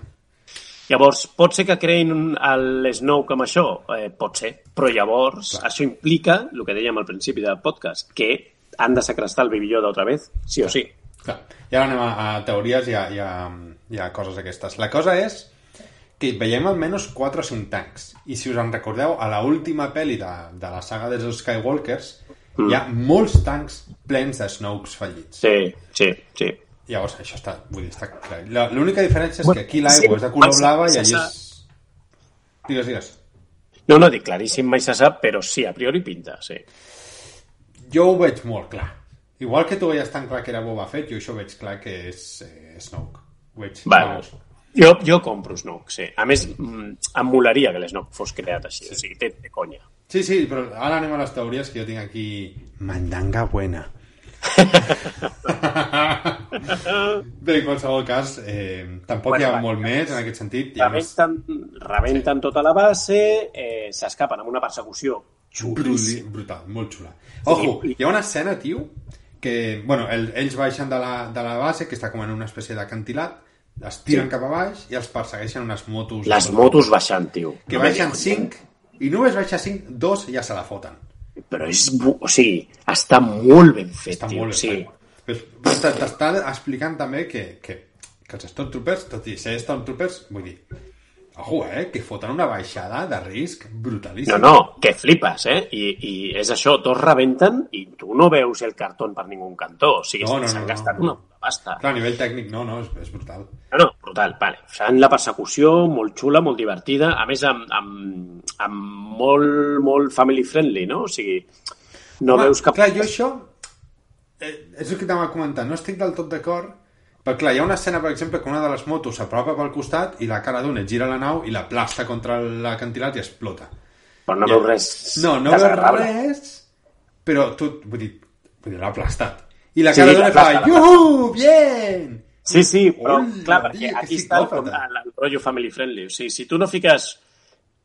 S4: Llavors, pot ser que creïn un, el Snoke amb això? Eh, pot ser. Però llavors,
S3: Clar.
S4: això implica, el que dèiem al principi del podcast, que han de sacrestar el Baby Yoda otra vez, sí o sí.
S3: Clar. I ara anem a, a teories i a, i, a, i a coses aquestes. La cosa és que veiem almenys 4 o 5 tancs. I si us en recordeu, a la última pel·li de, de la saga dels Skywalkers mm. hi ha molts tancs plens de Snokes fallits.
S4: Sí, sí, sí.
S3: Llavors, això està, vull dir, està clar. La- L'única diferència és
S4: Bueno,
S3: que aquí l'aigua
S4: sí,
S3: és de color
S4: se-
S3: blava i
S4: se
S3: allí
S4: sap.
S3: és... Digues, digues.
S4: No, no, dic claríssim, mai se sap, però sí, a priori pinta, sí.
S3: Jo ho veig molt clar. Igual que tu veies tan clar que era Boba Fett, jo això ho veig clar que és eh, Snoke. Ho veig.
S4: Vale.
S3: vamos.
S4: Jo, jo compro Snoke, sí. A més, mm, em molaria que l'Snoke fos creat així, o sigui, té, té conya.
S3: Sí, sí, però ara anem a les teories que jo tinc aquí. Mandanga buena. Bé, en qualsevol cas, eh, tampoc
S4: Bueno,
S3: hi ha
S4: va,
S3: molt més en aquest sentit. Hi ha més...
S4: Rebenten, rebenten tota la base, eh, s'escapen amb una persecució
S3: Bruli, brutal, molt xula. Ojo, hi ha una escena, tio, que, bueno, el, ells baixen de la, de la base, que està com en una espècie d'acantilat, es tiren cap a baix i els persegueixen unes motos.
S4: Les motos baixant, tio.
S3: Que
S4: No me
S3: baixen
S4: digas.
S3: 5 i només baixa 5, dos ja se la foten.
S4: Però és... bu- O sigui, està molt ben fet,
S3: Està
S4: tio.
S3: molt bé.
S4: sí.
S3: Però però t- T'està explicant també que, que, que els Stormtroopers, tot i ser Stormtroopers, vull dir, ojo, eh, que foten una baixada de risc
S4: No,
S3: brutalíssima.
S4: no, que flipes, eh? I, I és això, tots rebenten i tu no veus el cartó per ningun cantó. O sigui,
S3: No, no,
S4: s'han
S3: no,
S4: gastat
S3: no.
S4: una puta pasta.
S3: Clar, a nivell tècnic, no, no, és, és brutal.
S4: No, no, brutal, vale. Fan la persecució, molt xula, molt divertida, a més amb, amb, amb molt, molt family friendly, no? O sigui, no
S3: Home,
S4: veus cap...
S3: Clar, jo això... Eh, és el que t'anava a comentar. No estic del tot d'acord, però clar, hi ha una escena, per exemple, que una de les motos s'apropa pel costat i la cara d'una et gira la nau i la plasta contra l'acantilat i explota.
S4: Però no
S3: Ja.
S4: veus res.
S3: No, no veus
S4: desagradable.
S3: res, però tu, vull dir, vull dir l'ha aplastat. I la
S4: Sí,
S3: cara d'una
S4: l'ha
S3: fa,
S4: aplastat.
S3: iuhu, bien!
S4: Sí, sí, però
S3: Hola,
S4: clar, perquè
S3: tio, que
S4: aquí està el,
S3: psicòpata.
S4: el, el rotllo family friendly. O sigui, si tu no fiques...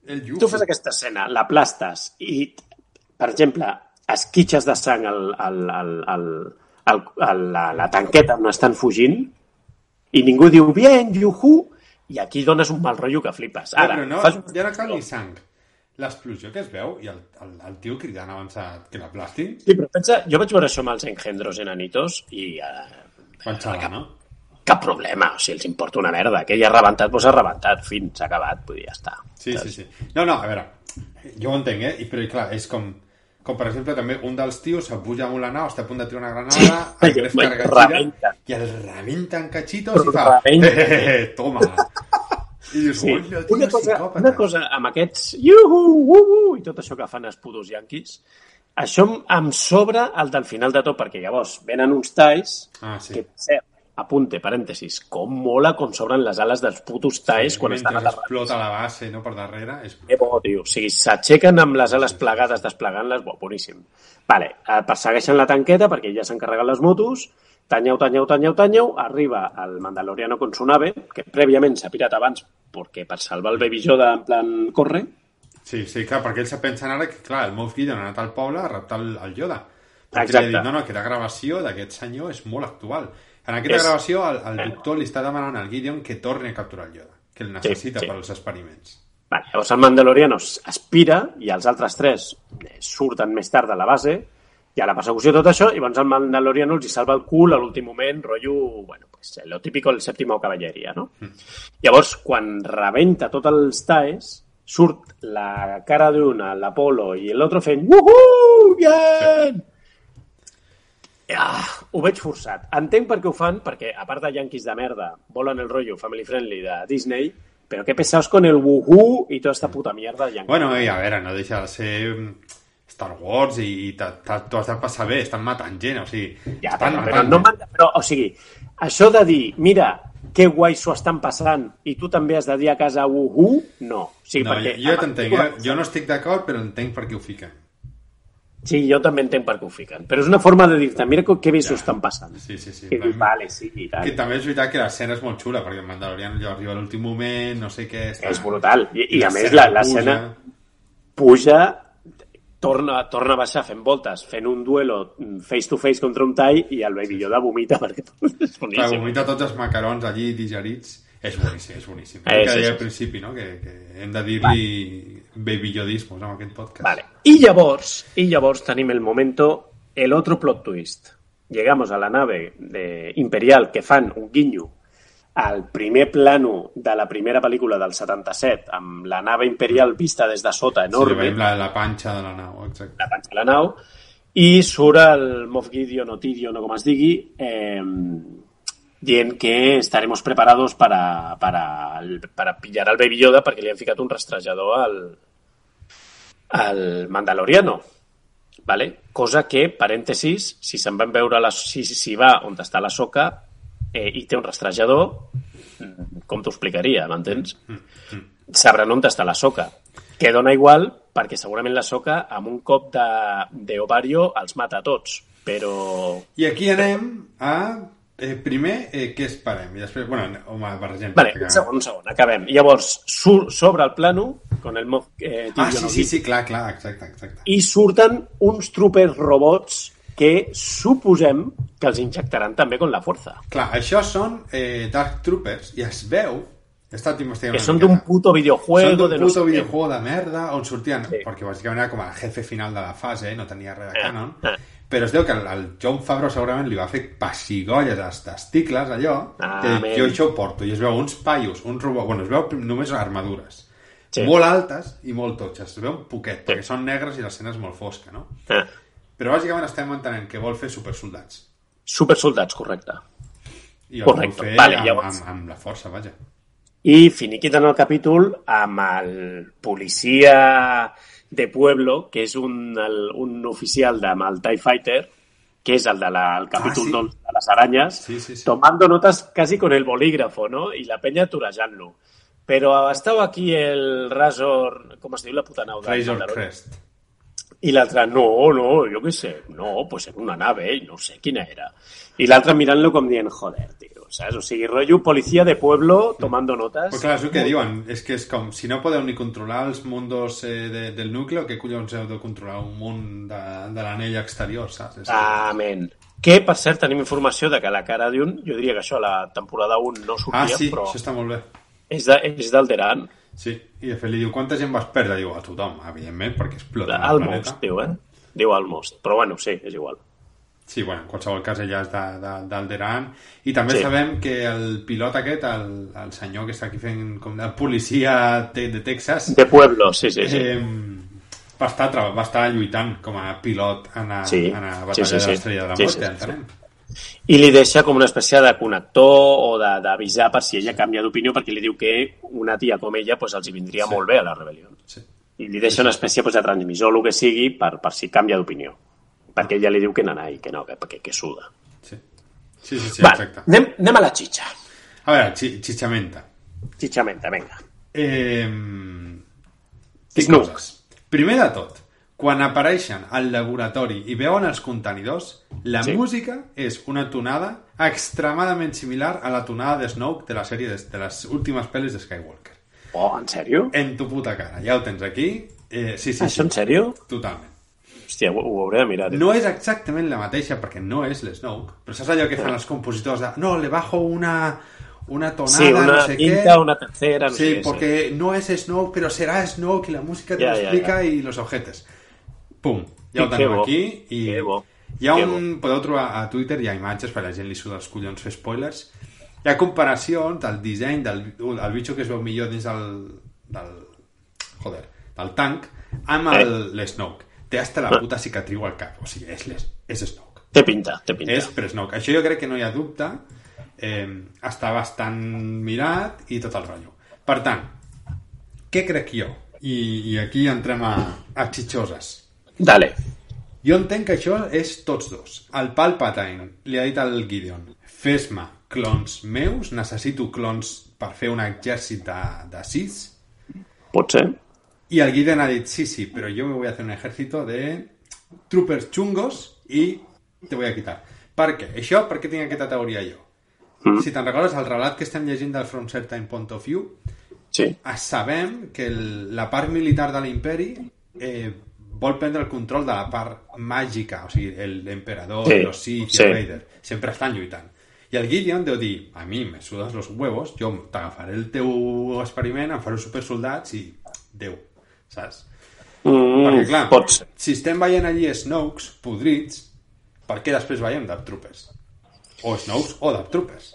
S3: El iuhu.
S4: Tu fas aquesta escena, la plastes i, per exemple, esquitxes de sang al, al, al, al, al, a la, la tanqueta on estan fugint i ningú diu, bien, yuhu, i aquí dones un mal rotllo que flipes. Ara,
S3: Però no,
S4: fas-
S3: ja no cal ni sang. L'explosió que es veu i el, el, el tio cridant avançat que l'aplastin,
S4: Sí, però pensa, jo vaig veure això amb els engendros enanitos i eh,
S3: pensava, no?
S4: cap problema, o sigui, els importa una merda. Que ja ha rebentat, doncs ha rebentat, fin, s'ha acabat, vull dir, ja està.
S3: Sí, sí, sí. No, no, a veure, jo ho entenc, eh? I, Però, clar, és com... Com, per exemple, també un dels tios se puja amb la nau, està a punt de tirar una granada,
S4: Sí,
S3: el Gref
S4: i
S3: carga gira,
S4: rebenta.
S3: i el rebenten cachitos i fa...
S4: Rebenta.
S3: Eh, eh, eh, toma! I dius,
S4: Sí,
S3: sí. tio,
S4: una, cosa,
S3: psicòpata.
S4: una cosa amb aquests iuhu, uhu, i tot això que fan els putos yanquis, això em- em sobra el del final de tot, perquè llavors venen uns talls
S3: Ah, sí.
S4: que, per cert, apunte, parèntesis, com mola com sobren les ales dels putos talls quan estan
S3: Mentre
S4: aterrats.
S3: explota la base, no per darrere, és...
S4: Que bo, tio. O sigui, s'aixequen amb les ales plegades, desplegant-les, bo, boníssim. Vale, eh, persegueixen la tanqueta perquè ja s'han carregat les motos, tanyeu, tanyeu, tanyeu, tanyeu, arriba el mandaloriano con su nave, que prèviament s'ha pirat abans perquè per salvar el Baby Yoda en plan corre,
S3: Sí, sí, clar, perquè ells se pensen ara que, clar, el Moff Gideon ha anat al poble a raptar el, el Yoda. Perquè li ha
S4: Exacte.
S3: dit, no, no, que la gravació d'aquest senyor és molt actual. En aquesta
S4: És-
S3: gravació el, el doctor li està demanant al Gideon que torni a capturar el Yoda, que el necessita
S4: sí.
S3: per als experiments.
S4: Vale, llavors el Mandaloriano aspira i els altres tres eh, surten més tard de la base i a la persecució tot això, i llavors el Mandaloriano els hi salva el cul a l'últim moment, rotllo, bueno, pues, eh, lo típico el séptimo caballeria, no? Llavors, quan rebenta tots els taes, surt la cara d'una, l'Apolo i l'altre fent «Wuhu! Bien!» Ah, ho veig forçat. Entenc per què ho fan, perquè a part de Yankees de merda, volen el rotllo family friendly de Disney, però que pesaos con el wuhu i tota esta puta mierda de Yankees.
S3: Bueno, i a veure, no deixa de ser mm, Star Wars i, i t'ha- t'ha- t'ho has de passar bé, estan matant gent, o sigui,
S4: ja,
S3: estan
S4: però, però, no
S3: gent.
S4: manda, però, o sigui, això de dir, mira, que guai s'ho estan passant i tu també has de dir a casa wuhu, no. O sigui,
S3: No, jo,
S4: perquè,
S3: jo t'entenc, eh? jo no estic d'acord, però entenc per què ho fiquen.
S4: Sí, jo també entenc per què ho fiquen. Però és una forma de dir-te, mira que, que bé s'ho estan passant.
S3: Sí, sí, sí.
S4: I dius,
S3: Vam-
S4: vale, sí, i tant.
S3: Que també és veritat que l'escena és molt xula, perquè el Mandalorian ja arriba a l'últim moment, no sé què... Està...
S4: És brutal. I, i a més,
S3: l'escena
S4: la- l'escena
S3: puja.
S4: puja, torna, torna a baixar fent voltes, fent un duelo mm, face to face contra un tall i el Baby Yoda vomita perquè és
S3: Clar,
S4: boníssim.
S3: vomita tots els macarons allí digerits. És boníssim, és boníssim.
S4: Eh,
S3: El que
S4: sí,
S3: deia
S4: sí.
S3: al principi, no? Que, que hem de dir-li baby yodismos amb aquest podcast.
S4: Vale. Y llavors, y llavors tenim el momento, el otro plot twist. Llegamos a la nave de imperial que fan un guinyo al primer plano de la primera pel·lícula del 77 amb la nave imperial vista des de sota,
S3: Sí,
S4: enorme,
S3: veiem la, la panxa de la nau, exacte.
S4: la panxa de la nau, i surt el Moff Gideon o Tidion o com es digui, eh, dient que estaremos preparados para, para, el- para pillar al Baby Yoda perquè li han ficat un rastrejador al, al Mandaloriano. Vale? Cosa que, parèntesis, si se'n van veure la, si, si- si va on està la soca eh, i té un rastrejador, mm, com t'ho explicaria, m'entens? sabran on està la soca. Que dona igual, perquè segurament la soca, amb un cop de- d'ovario, els mata a tots. Però...
S3: I aquí anem a... Eh, primer, eh, què esperem? I després, bueno, home, barregem.
S4: Vale,
S3: perquè-
S4: un segon, un segon, acabem. Llavors, sur, sobre el plano, con el mof... Eh,
S3: Ah,
S4: tibio
S3: sí,
S4: no
S3: sí,
S4: dit,
S3: sí, clar, clar, exacte, exacte.
S4: I surten uns troopers robots que suposem que els injectaran també con la força.
S3: Clar, això són eh, Dark Troopers i es veu... He estat investigant
S4: Que
S3: una
S4: són
S3: miqueta.
S4: d'un puto
S3: Són
S4: videojuego,
S3: d'un
S4: de no
S3: puto
S4: sé què.
S3: videojuego de merda on sortien,
S4: Sí.
S3: perquè bàsicament era com el jefe final de la fase, ¿eh? no tenia res de
S4: Ah,
S3: canon,
S4: ah.
S3: però es veu que el, el John Favreau segurament li va fer pessigolles als testicles, allò,
S4: Ah,
S3: que
S4: man.
S3: jo això ho porto, i es veu uns paios, un robot, bueno, es veu prim- només armadures,
S4: Sí.
S3: molt altes i molt totxes, es veu un poquet, perquè són negres i l'escena és molt fosca, no?
S4: Ah,
S3: Però bàsicament estem entenent que vol fer supersoldats.
S4: supersoldats, correcte.
S3: I el
S4: Correcte,
S3: vol fer
S4: vale,
S3: amb,
S4: llavors.
S3: amb, amb la força, vaja.
S4: I finiquiten el capítol amb el policia de Pueblo, que és un, el, un oficial de amb el TIE Fighter, que és el del de capítol
S3: sí.
S4: ah, sí. de les aranyes,
S3: Sí, sí, sí.
S4: tomando notas casi con el bolígrafo, ¿no? I la penya torejant-lo. Però estava aquí el Razor... Com es diu la puta nau? del
S3: Razor
S4: Mandalorian?
S3: Crest.
S4: I l'altre, no, no, jo què sé, no, pues era una nave, i no sé quina era. I l'altre mirant-lo com dient, joder, tio, saps? O sigui, rotllo policia de pueblo tomando notes.
S3: Però Pues clar, és el que diuen, és que és com, si no podeu ni controlar els mundos eh, de, del núcleo, què collons heu de controlar un món de, de l'anell exterior, saps? És,
S4: Amén. Que, per cert, tenim informació de que la cara d'un, jo diria que això a la temporada 1 no
S3: ah,
S4: sortia,
S3: sí,
S4: però
S3: això està molt bé.
S4: és de- és d'Alderan,
S3: Sí, i de fet li diu, quanta gent vas perdre? Diu, a tothom, evidentment, perquè explota el
S4: Almost,
S3: planeta.
S4: diu, eh? Diu Almost, però bueno, sí, és igual.
S3: Sí, bueno, en qualsevol cas ella és de- de- d'Alderan. I també
S4: Sí.
S3: sí. sabem que el pilot aquest, el, el senyor que està aquí fent com de policia te, de Texas,
S4: De Pueblo, sí, sí, sí.
S3: eh, va, estar, tra- va estar lluitant com a pilot en la,
S4: Sí.
S3: en la
S4: Sí,
S3: batalla
S4: sí, sí.
S3: de l'estrella de la
S4: Sí,
S3: mort,
S4: sí, sí.
S3: entenem.
S4: I li deixa com una espècie de connector o de- d'avisar per si ella canvia d'opinió, perquè li diu que una tia com ella pues, els hi vindria molt bé a la rebel·lió.
S3: Sí.
S4: I li deixa una espècie pues, de transmissor, el que sigui, per, per si canvia d'opinió. Perquè ella li diu que nanai, que no, que, que, que suda.
S3: Sí, sí, sí, sí
S4: Val,
S3: exacte.
S4: anem, anem a la xitxa.
S3: A veure, chi xitxamenta.
S4: Xitxamenta, vinga.
S3: Eh, tinc
S4: Snook.
S3: coses. Primer de tot, quan apareixen al laboratori i veuen els contenidors, la
S4: Sí.
S3: sí. música és una tonada extremadament similar a la tonada de Snoke de la sèrie de, de les últimes pel·lis de Skywalker.
S4: Oh, en sèrio?
S3: En tu puta cara, ja ho tens aquí. Eh, sí, sí, sí,
S4: Això en sèrio?
S3: totalment.
S4: Hòstia, ho, ho hauré de mirar. eh. No.
S3: No és exactament la mateixa, perquè no és l'Snoke, però saps allò que fan els compositors de... No, le bajo una, una tonada,
S4: Sí, una
S3: no
S4: no
S3: sé
S4: quinta,
S3: què...
S4: una tercera, no sé
S3: Sí,
S4: què.
S3: porque no es Snow, pero será Snow que la música te
S4: Ya,
S3: lo
S4: ya,
S3: explica y los objetos. Pum, ja
S4: Sí,
S3: ho
S4: que
S3: tenim
S4: bo,
S3: aquí. I
S4: que bo,
S3: hi ha
S4: que
S3: un... Podeu trobar a Twitter, hi ha imatges, per la gent li suda els collons fer spoilers. Hi ha comparacions del disseny del uh, el bitxo que es veu millor dins del... del joder, del tanc amb
S4: Eh.
S3: el, l'Snoke. Té hasta la puta cicatriu al cap. O sigui, és, l'S- és Snoke.
S4: Té pinta, té pinta.
S3: És Presnock. Això jo crec que no hi ha dubte. Eh, està bastant mirat i tot el rotllo. Per tant, què crec jo? I, i aquí entrem a, a xitxoses.
S4: Dale.
S3: Jo entenc que això és tots dos. El Palpatine li ha dit al Gideon fes-me clons meus, necessito clons per fer un exèrcit de, de sis.
S4: Pot ser.
S3: Y al Gideon ha dicho, sí, sí, pero yo me voy a hacer un ejército de troopers chungos y te voy a quitar. Per què? Això per què tinc aquesta teoria jo? Si te'n recordes, el relat que estem llegint del From Certain Point of View,
S4: Sí.
S3: eh, sabem que el, la part militar de l'imperi eh, vol prendre el control de la part màgica, o sigui, el- l'emperador,
S4: Sí,
S3: sí, los Sith,
S4: sí.
S3: sí. el Vader, sempre estan lluitant. I el Gideon deu dir, a mi me sudas los huevos, jo t'agafaré el teu experiment, em faré supersoldats i Déu, saps?
S4: Mm,
S3: Perquè, clar,
S4: Pot ser.
S3: si estem veient allí Snokes podrits, per què després veiem Dark Troopers? O Snokes o Dark Troopers.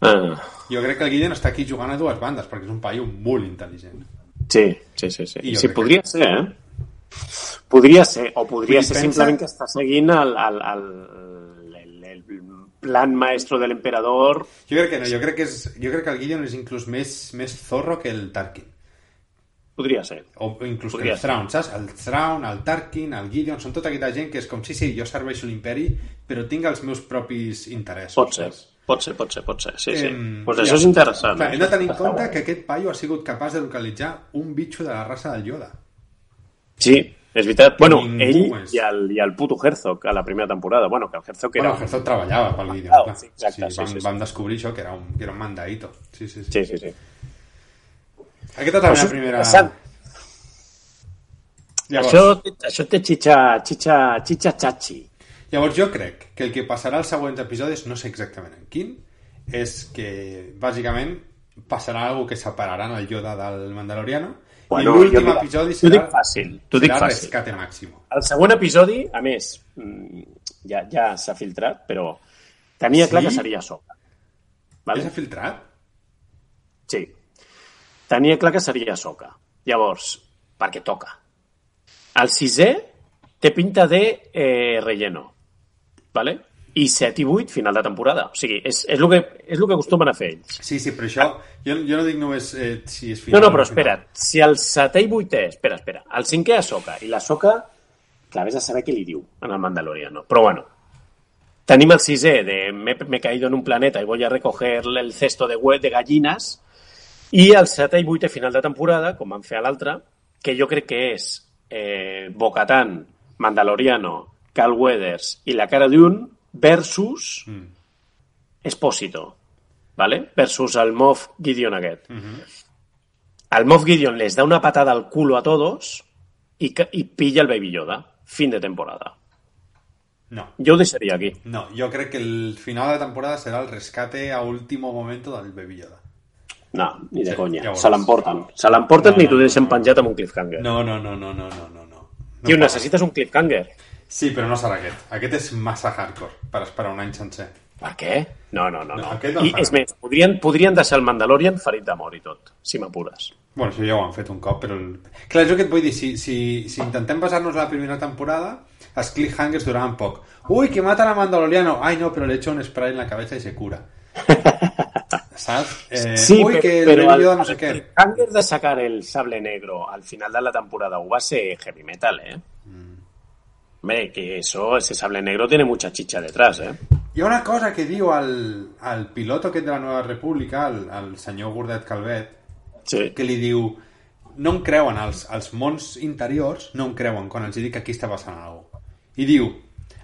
S4: Ah,
S3: Jo crec que el Guillem està aquí jugant a dues bandes, perquè és un paio molt intel·ligent.
S4: sí, sí, sí. sí.
S3: I jo
S4: sí
S3: crec
S4: podria ser, eh? Podria ser, o podria
S3: Vull dir,
S4: ser
S3: pensa-
S4: simplement que està seguint el, el, el, el, el plan maestro de l'emperador.
S3: Jo crec que no, jo crec que, és, jo crec que el Guillem és inclús més, més zorro que el Tarkin.
S4: Podria ser.
S3: O inclús
S4: Podria
S3: que el Thrawn, saps? El Thrawn, el Tarkin, el Gideon, són tota aquesta gent que és com, sí, sí, jo serveixo l'imperi, però tinc els meus propis interessos.
S4: Pot ser.
S3: saps?
S4: Pot ser, pot ser, pot ser. Sí, Pues sí.
S3: Pues- Em,
S4: Doncs
S3: ja.
S4: això és interessant.
S3: Clar, hem de tenir en
S4: Està
S3: compte
S4: guai.
S3: que aquest paio ha sigut capaç de localitzar un bitxo de la raça del Yoda.
S4: Sí, és veritat. Bueno,
S3: Ningú
S4: ell
S3: és.
S4: i el, i el puto Herzog a la primera temporada. Bueno, que el Herzog
S3: Que bueno,
S4: era...
S3: el Herzog treballava pel vídeo,
S4: Ah,
S3: clar.
S4: sí, exacte, sí,
S3: vam,
S4: sí, sí.
S3: vam descobrir això, que era un, que era un mandadito. Sí, sí, sí.
S4: Sí, sí, sí.
S3: Aquesta també és
S4: Això és
S3: la primera...
S4: interessant.
S3: Llavors,
S4: Això, això té xitxa, xitxa, xitxa xatxi.
S3: Llavors jo crec que el que passarà als següents episodis, no sé exactament en quin, és que bàsicament passarà alguna que separaran el Yoda del Mandaloriano
S4: Bueno,
S3: i l'últim
S4: jo dic-
S3: episodi
S4: t'ho
S3: serà,
S4: dic fàcil, t'ho dic
S3: serà
S4: fàcil.
S3: rescate màximo.
S4: El segon episodi, a més, mm, ja, ja s'ha filtrat, però tenia
S3: Sí?
S4: clar que seria Ahsoka.
S3: Vale.
S4: Vale?
S3: Ja s'ha filtrat?
S4: Sí. Tenia clar que seria Ahsoka. Llavors, perquè toca. El sisè té pinta de eh, relleno. Vale? I 7 i 8, final de temporada. O sigui, és, és, el, que, és el que acostumen a fer ells.
S3: Sí, sí, però això... Jo, jo no dic només eh, si és
S4: Ah. No,
S3: final.
S4: no,
S3: o
S4: però
S3: final.
S4: espera't. Si el setè i vuitè... Espera, espera. El cinquè a Soca. I la Soca, clar, vés a saber què li diu en el Mandalorian, no? Però bueno, tenim el sisè de me, me he caído en un planeta y voy a recoger el cesto de web de gallines i el setè i vuitè final de temporada, com van fer a l'altre, que jo crec que és eh, Bocatan, Mandaloriano, Cal Weathers i la cara d'un versus
S3: Mm.
S4: Espósito, ¿vale? Versus el Moff Gideon
S3: Mm.
S4: aquest. Al Moff Gideon les da una patada al culo a todos y, ca- y pilla el Baby Yoda. Fin de temporada.
S3: No.
S4: Yo lo desearía aquí.
S3: No, jo crec que el final de la temporada serà el rescate a último momento del Baby Yoda.
S4: No, ni de
S3: Sí,
S4: coña.
S3: ja ho
S4: se
S3: veuràs.
S4: l'emporten. Se l'emporten
S3: No,
S4: i
S3: no,
S4: t'ho
S3: no,
S4: deixen
S3: no.
S4: penjat amb un cliffhanger.
S3: No, no, no, no, no, no, no. no. no passa.
S4: Tio, necessites un cliffhanger.
S3: Sí, però no serà aquest. Aquest és massa hardcore per esperar un any sencer.
S4: Per què? No, no, no.
S3: No,
S4: no.
S3: aquest no el
S4: I,
S3: faran.
S4: és més, podrien, podrien deixar el Mandalorian ferit d'amor i tot, si m'apures.
S3: Bueno, això ja ho han fet un cop, però... El... Clar, és el que et vull dir, si, si, si intentem basar-nos a la primera temporada, els cliffhangers duraven poc. Ui, que mata la Mandaloriano! Ai, no, però le echo un spray en la cabeza i se cura. Saps? Eh, ui, que el
S4: el,
S3: Baby Yoda no sé
S4: el
S3: què.
S4: cliffhanger de sacar el sable negro al final de la temporada 1 va a ser heavy metal, ¿eh?
S3: Mm.
S4: Hombre, que eso, ese sable negro tiene mucha chicha detrás, ¿eh?
S3: Hi ha una cosa que diu el, el pilot aquest de la Nova República, el, el senyor Gordet Calvet,
S4: Sí.
S3: que li diu no em creuen, els, els mons interiors no em creuen quan els dic que aquí està passant alguna cosa. I diu,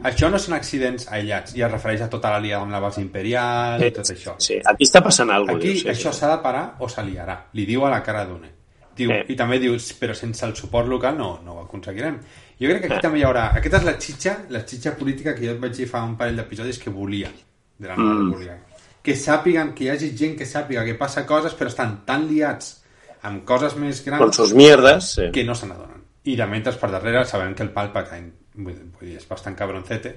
S3: això no són accidents aïllats, i es refereix a tota la liada amb la base imperial i tot això.
S4: Sí, aquí està passant alguna
S3: Aquí
S4: cosa. sí,
S3: això
S4: sí.
S3: s'ha de parar o se liarà, li diu a la cara d'una. Diu,
S4: Eh.
S3: I també diu, però sense el suport local no, no ho aconseguirem. Jo crec que
S4: Eh.
S3: aquí també hi haurà... Aquesta és la xitxa, la xitxa política que jo et vaig dir fa un parell d'episodis que volia, de la nova
S4: Mm.
S3: república. Que sàpiguen, que hi hagi gent que sàpiga que passa coses, però estan tan liats amb coses més grans
S4: Con sus mierdas. Sí.
S3: que no se n'adonen. I de mentre per darrere sabem que el Palpatine, vull vull dir, és bastant cabroncete,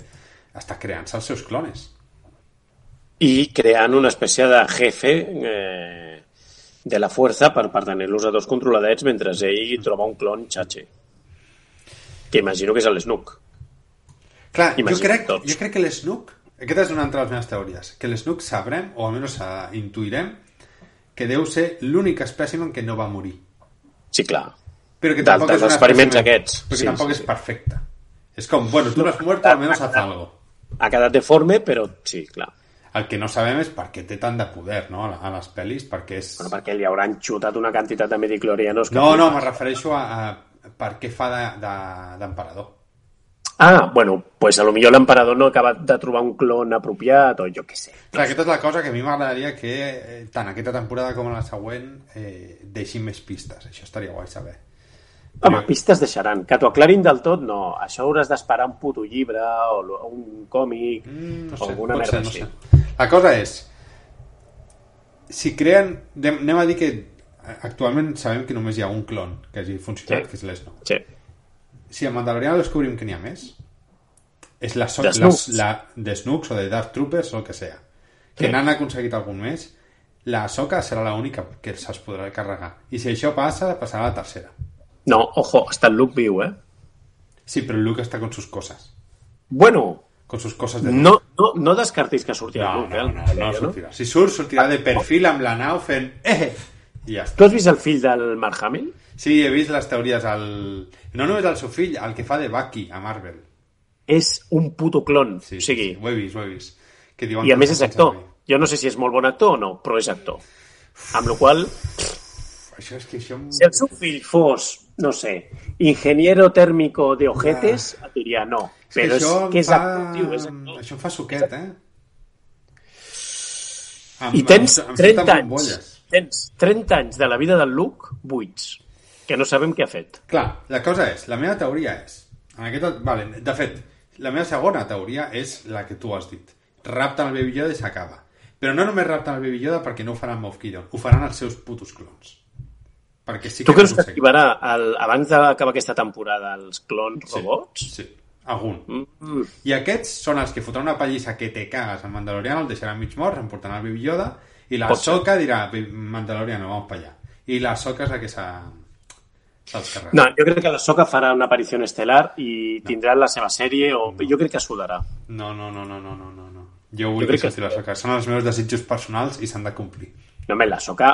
S3: està creant-se els seus clones.
S4: I creant una espècie de jefe eh, de la fuerza per, per tenir-los a dos controladets mentre
S3: Mm.
S4: ell troba un clon xatxe. Que imagino que és el Snook.
S3: Clar, jo
S4: Imagina't
S3: crec,
S4: tots.
S3: jo crec que l'Snook, aquesta és una altra de les meves teories, que l'Snook sabrem, o almenys eh, intuirem, que deu ser l'únic espècimen que no va morir.
S4: Sí, clar.
S3: Però que
S4: Del-
S3: tampoc
S4: dels
S3: és un
S4: experiments
S3: espècimen-
S4: aquests.
S3: Però que
S4: Sí,
S3: tampoc
S4: sí,
S3: és
S4: sí.
S3: perfecte. És com, bueno, tu no has mort, almenys haz algo.
S4: Ha quedat deforme, però sí, clar.
S3: El que no sabem és per què té tant de poder, no?, a la- a les pel·lis, perquè és...
S4: Bueno, perquè li hauran xutat una quantitat de mediclorianos. que-
S3: No, no, me refereixo a, a per què fa de- de- d'emperador.
S4: Ah, bueno, pues a lo millor l'emperador no ha acabat de trobar un clon apropiat o jo què sé.
S3: Clar, aquesta és la cosa que a mi m'agradaria que eh, tant aquesta temporada com la següent eh, deixin més pistes. Això estaria guai saber.
S4: Home,
S3: Jo-
S4: pistes deixaran. Que t'ho aclarin del tot, no. Això hauràs d'esperar un puto llibre o lo- un còmic
S3: Mm, no
S4: o
S3: sé,
S4: alguna
S3: pot
S4: merda
S3: ser, no
S4: així.
S3: sé. La cosa és, si creen... de- Anem a dir que actualment sabem que només hi ha un clon que hagi funcionat,
S4: Sí.
S3: que és l'Snow.
S4: Sí.
S3: Si a Mandalorian descobrim que n'hi ha més, és la, so
S4: De
S3: la,
S4: Snooks.
S3: la de Snooks o de Dark Troopers o el que sea, que
S4: Sí.
S3: n'han aconseguit algun més, la Soca serà l'única que se'ls podrà carregar. I si això passa, passarà a la tercera.
S4: No, ojo, està el Luke viu, eh?
S3: Sí, però Luke està con sus cosas.
S4: Bueno,
S3: Con sus cosas de...
S4: no, no, no descartis que
S3: no,
S4: sortirà
S3: no,
S4: Luke, eh?
S3: no,
S4: al
S3: no,
S4: Mandalorian,
S3: no sortirà. Si surt, sortirà de perfil amb la nau fent... Eh! I ja està.
S4: Tu has vist el fill del Mark Hamill?
S3: Sí, he vist les teories. El... No només el seu fill, el que fa de Bucky a Marvel.
S4: És un puto clon.
S3: Sí,
S4: o sigui,
S3: sí, ho he vist, ho he vist. Que diuen
S4: I a
S3: que
S4: més
S3: ho
S4: és
S3: fan
S4: actor.
S3: servir.
S4: Jo no sé si és molt bon actor o no, però és actor. Amb la qual cosa,
S3: Uf, això és que això... em-
S4: si el seu fill fos, no sé, ingeniero tèrmico de ojetes, et diria no.
S3: Ah. És que
S4: Però és,
S3: això em
S4: que és
S3: fa...
S4: actor, tio, és actor.
S3: Això em fa suquet, eh? Em-
S4: I tens
S3: em- em surten
S4: 30 anys.
S3: bombolles.
S4: Tens 30 anys de la vida del Luke buits, que no sabem què ha fet.
S3: Clar, la cosa és, la meva teoria és... En aquest... Vale, de fet, La meva segona teoria és la que tu has dit. Rapten el Baby Yoda i s'acaba. Però no només rapten el Baby Yoda perquè no ho faran Moff Gideon, ho faran els seus putos clones. Perquè sí que
S4: Tu creus que
S3: no ho sé.
S4: activarà el, abans d'acabar aquesta temporada els clons
S3: Sí.
S4: robots?
S3: Sí, algun.
S4: Mm,
S3: I aquests són els que fotran una pallissa que te cagues al Mandaloriano, el deixaran mig mort, em portaran al Baby Yoda, i la
S4: Pot ser.
S3: Soca dirà, "Bi- Mandaloriano, vamos pa allá. I la Soca és la que s'ha... se'ls carrega.
S4: No, jo crec que la Soca farà una aparició estel·lar i tindrà la seva sèrie o jo crec que sudarà.
S3: No, no, no, no, no, no, no, no. Jo vull
S4: Jo
S3: que
S4: crec que-
S3: surti la Soca. Són els meus desitjos personals i s'han de complir.
S4: No, home, la Soca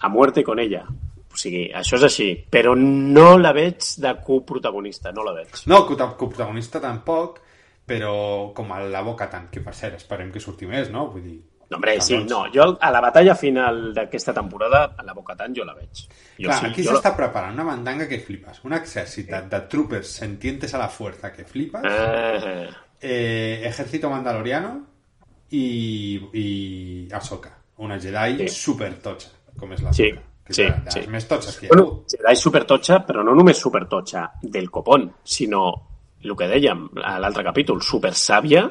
S4: a muerte con ella. O sigui, això és així. Però no la veig de coprotagonista, no la veig.
S3: No, cota- coprotagonista tampoc, però com a la boca tant, que per cert, esperem que surti més, no? Vull dir...
S4: No, hombre, sí,
S3: Llavors-
S4: no. Jo a la batalla final d'aquesta temporada, a la Bocatan, jo la veig. Jo
S3: Clar,
S4: sí,
S3: aquí
S4: jo... la-
S3: s'està preparant una mandanga que flipes, un exèrcit de, de troopers sentientes a la fuerza que flipes,
S4: Eh,
S3: eh, ejército mandaloriano y, y Ahsoka, una Jedi
S4: Sí.
S3: super tocha, com és la
S4: Sí,
S3: Ahsoka, que és
S4: sí,
S3: de, de
S4: sí.
S3: les més toches que hi ha
S4: bueno,
S3: hagut.
S4: Jedi supertotxa, però no només supertotxa del copón, sinó el que dèiem a l'altre capítol, supersàvia,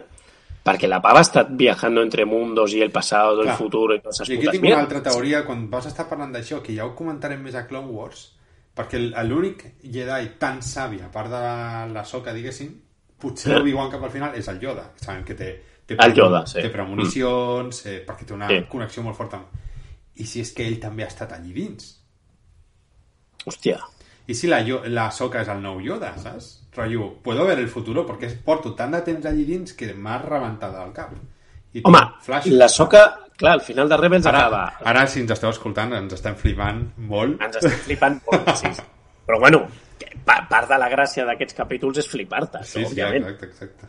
S4: perquè la pava ha estat viajant entre mundos i el passat, el
S3: Clar.
S4: futur i totes
S3: I
S4: les
S3: aquí
S4: putes
S3: tinc una
S4: mierdes.
S3: altra teoria, quan vas estar parlant d'això, que ja ho comentarem més a Clone Wars, perquè el- l'únic Jedi tan sàvia, a part de la soca, diguéssim, potser
S4: Eh.
S3: Obi-Wan cap al final, és el Yoda. que Sabem que té, té,
S4: El Yoda, sí. Mm.
S3: té premonicions, eh, perquè té una
S4: Sí.
S3: connexió molt forta. amb- I si és que ell també ha estat allí dins?
S4: Hòstia,
S3: I si la, Yo- la soca és el nou Yoda, saps? Rotllo, puedo ver el futuro, perquè porto tant de temps allí dins que m'ha rebentat el cap. I
S4: home,
S3: tinc flashes.
S4: la soca, clar, al final de Rebels
S3: Ara,
S4: acaba.
S3: ara, si ens esteu escoltant, ens estem flipant molt.
S4: Ens estem flipant molt, sí. Però bueno, que pa- part de la gràcia d'aquests capítols és flipar-te,
S3: Sí, sí,
S4: òbviament.
S3: exacte, exacte.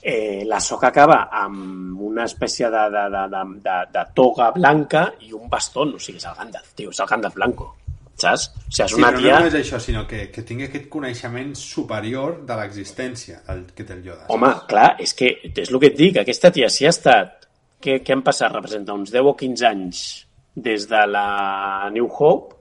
S4: eh, la soca acaba amb una espècie de, de, de, de, de, de toga blanca i un bastón. O sigui, és el Gandalf, tio, és el Gandalf blanco. Saps? O sigui, és
S3: Sí,
S4: una
S3: però no
S4: tia...
S3: només això, sinó que, que tingui aquest coneixement superior de l'existència del que té el Yoda. saps?
S4: Home, clar, és que és el que et dic. Aquesta tia, si ha estat... Què, què han passat? Representa uns 10 o 15 anys des de la New Hope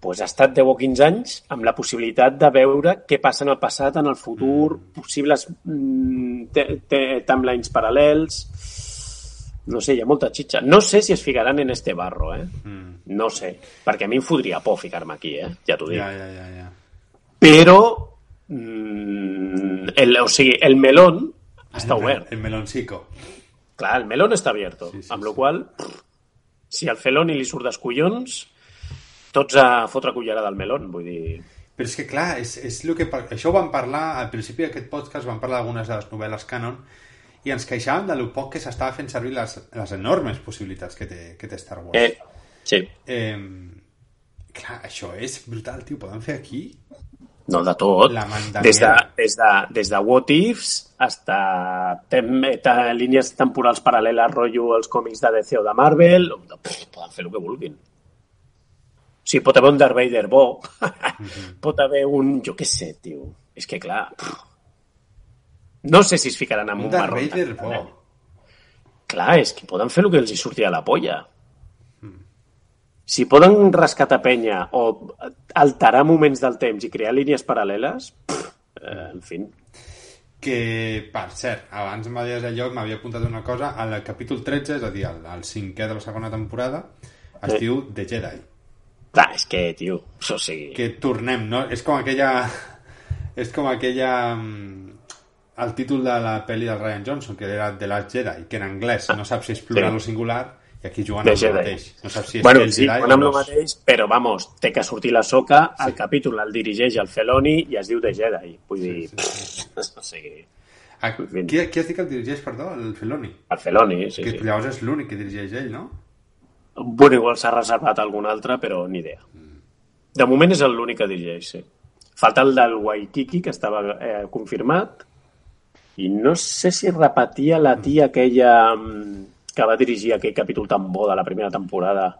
S4: doncs ha estat 10 o 15 anys amb la possibilitat de veure què passa en el passat, en el futur, possibles mm, te- te- timelines paral·lels... No sé, hi ha molta xitxa. No sé si es ficaran en este barro, eh?
S3: Mm.
S4: No sé, perquè a mi em fodria por ficar-me aquí, eh? Ja t'ho dic.
S3: Ja, ja, ja, ja.
S4: Però, mm, el, o sigui, el melón està
S3: Ah,
S4: obert.
S3: El meloncico.
S4: Clar, el melón està abierto.
S3: eh. Sí, sí,
S4: amb la
S3: sí.
S4: qual cosa, pff, si al feloni li surt dels collons, tots a fotre cullerada al melón, vull dir...
S3: Però és que, clar, és, és el que... par- Això ho vam parlar, al principi d'aquest podcast, vam parlar d'algunes de les novel·les canon, i ens queixàvem de lo poc que s'estava fent servir les, les enormes possibilitats que té, que té Star Wars.
S4: Eh, sí.
S3: Eh, clar, això és brutal, tio. Podem fer aquí?
S4: No, de tot.
S3: La mandanera.
S4: Des de, des, de, des de What Ifs hasta tem, ta, línies temporals paral·leles, rotllo els còmics de DC o de Marvel, pff, poden fer el que vulguin. O sigui, pot haver un Darth Vader bo,
S3: Mhm.
S4: pot haver un... jo què sé, tio. És que, clar... Pff. No sé si es ficaran en un,
S3: Un
S4: un
S3: Darth
S4: marró.
S3: Vader
S4: tan
S3: bo.
S4: gran. Clar, és que poden fer el que els hi surti a la polla. Si poden rescatar penya o alterar moments del temps i crear línies paral·leles, pff, eh, en fi,
S3: Que, per cert, abans em deies allò, m'havia apuntat una cosa, al capítol 13, és a dir, al, al cinquè de la segona temporada, es
S4: Sí.
S3: diu The Jedi.
S4: clar, és que, tio, o sigui...
S3: Que tornem, no? És com aquella... És com aquella... mm, El títol de la pel·li del Ryan Johnson, que era The Last Jedi, que en anglès no saps si és plural
S4: Sí.
S3: o singular, i aquí juguen
S4: The
S3: amb el
S4: Jedi.
S3: mateix. No saps si és
S4: bueno,
S3: el
S4: sí,
S3: Jedi
S4: quan amb
S3: o
S4: el
S3: los...
S4: mateix, però, vamos, té que sortir la soca, el capítol el dirigeix el Feloni i es diu The Jedi. Vull dir, o sigui,
S3: Ah,
S4: Vint.
S3: qui, qui has dit que el dirigeix, perdó? El Filoni?
S4: el Feloni, sí,
S3: que
S4: sí.
S3: llavors és l'únic que dirigeix ell, no?
S4: Bueno, igual s'ha reservat algun altre, però ni idea. De moment és l'únic que dirigeix, sí. Falta el del Waikiki, que estava eh, confirmat, i no sé si repetia la tia aquella mm, que va dirigir aquell capítol tan bo de la primera temporada.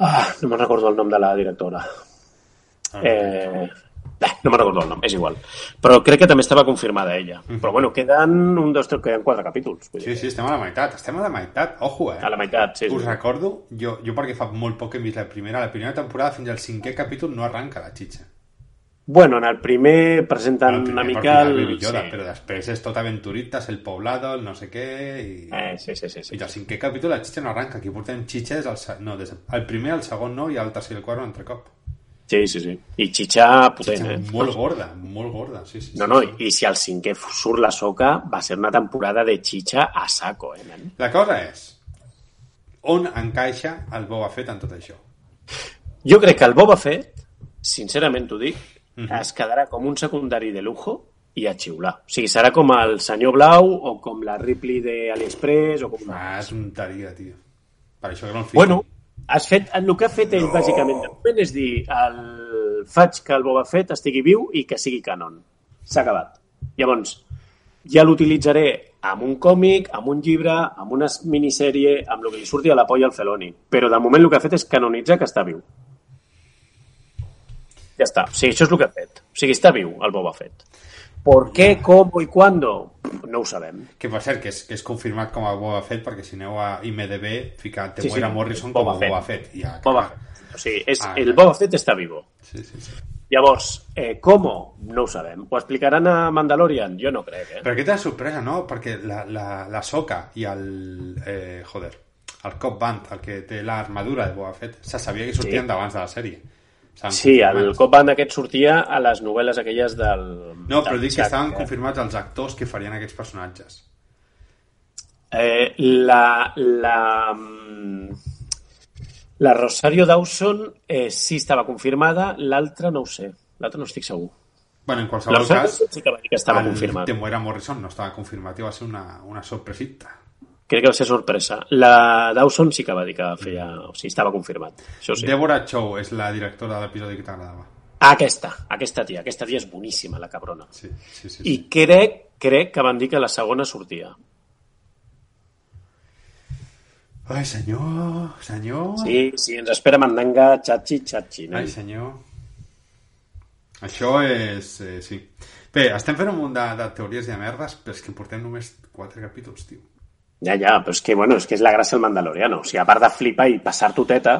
S4: Ah, no me'n recordo el nom de la directora. Eh, bah, no me'n recordo el nom, és igual. Però crec que també estava confirmada ella. Però bueno, queden un, dos, tres, queden quatre capítols. Vull
S3: Sí,
S4: dir,
S3: sí, estem a la meitat, estem a la meitat, ojo, eh?
S4: A la meitat, sí.
S3: Us
S4: sí.
S3: recordo, jo, jo perquè fa molt poc que he vist la primera, la primera temporada fins al cinquè capítol no arranca la xitxa.
S4: Bueno, en el primer presenten
S3: El primer
S4: una mica...
S3: partit del Baby
S4: El...
S3: Yoda,
S4: sí.
S3: però després és tot aventuritas, el poblado, el no sé què... I...
S4: Eh, sí, sí, sí, sí.
S3: I al cinquè capítol la xitxa no arranca, aquí portem xitxes al, se- no, des, el primer, el segon no i el tercer i el quart un altre cop.
S4: Sí, sí, sí. I xitxar potent,
S3: Xitxa
S4: eh?
S3: molt gorda, molt gorda, sí, sí. sí.
S4: No, no, i, i si al cinquè surt la soca, va ser una temporada de xitxa a saco, eh, nen?
S3: La cosa és, on encaixa el Boba Fett en tot això?
S4: Jo crec que el Boba Fett, sincerament t'ho dic,
S3: Mhm.
S4: es quedarà com un secundari de lujo i a xiular. O sigui, serà com el senyor Blau o com la Ripley de AliExpress o com...
S3: Ah, és un taria, tio. Per això que no el fico.
S4: Bueno, has fet, el que ha fet ell, no. bàsicament, de moment, és dir, el, faig que el Boba Fett estigui viu i que sigui canon. S'ha acabat. Llavors, ja l'utilitzaré amb un còmic, amb un llibre, amb una minissèrie, amb el que li surti a la polla al Feloni. Però de moment el que ha fet és canonitzar que està viu. Ja està. O sigui, això és el que ha fet. O sigui, està viu el Boba Fett. ¿Por qué, cómo y cuándo? No ho sabem.
S3: Que per cert, que és, que és confirmat com a Boba Fett, perquè si aneu a IMDB, fica Te
S4: Sí,
S3: sí,
S4: sí.
S3: Moira Morrison
S4: Boba
S3: com a
S4: Fett.
S3: Boba Fett. I Ja,
S4: Boba
S3: clar.
S4: Fett. O sigui, és,
S3: Ah,
S4: el
S3: clar.
S4: Boba Fett està vivo.
S3: Sí, sí, sí.
S4: Llavors, eh, ¿cómo? No ho sabem. Ho explicaran a Mandalorian? Jo no crec, eh?
S3: Però aquesta és sorpresa, no? Perquè la, la, la soca i el... Eh, joder, el Cop Band, el que té l'armadura de Boba Fett, se sabia que sortien
S4: Sí.
S3: d'abans de la sèrie. Estaven
S4: Sí, el
S3: confirmats.
S4: cop band aquest sortia a les novel·les aquelles del...
S3: No,
S4: del
S3: però dic que
S4: Jack,
S3: estaven
S4: eh?
S3: confirmats els actors que farien aquests personatges.
S4: Eh, la, la, mm, la Rosario Dawson eh, sí estava confirmada, l'altra no ho sé. L'altra no estic segur.
S3: Bueno, en
S4: La
S3: qualsevol
S4: Rosario
S3: cas,
S4: Dawson sí que va dir que estava
S3: el
S4: confirmada.
S3: Te Moira Morrison no estava confirmat i va ser una, una sorpresita.
S4: Crec que va ser sorpresa. La Dawson sí que va dir que feia... O sigui, estava confirmat. Això sí.
S3: Deborah Chow és la directora de l'episodi que t'agradava.
S4: Aquesta, aquesta tia. Aquesta tia és boníssima, la cabrona.
S3: Sí, sí, sí.
S4: I
S3: sí.
S4: crec, crec que van dir que la segona sortia.
S3: Ah. Ai, senyor, senyor...
S4: Sí, sí, ens espera mandanga, xatxi, xatxi. nen.
S3: Ai, senyor. Això és... Eh, sí. Bé, estem fent un munt de, de teories i de merdes, però és que portem només quatre capítols, tio.
S4: Ja, ja, però és que, bueno, és que és la gràcia del mandaloriano. O sigui, a part de flipar i passar-t'ho teta,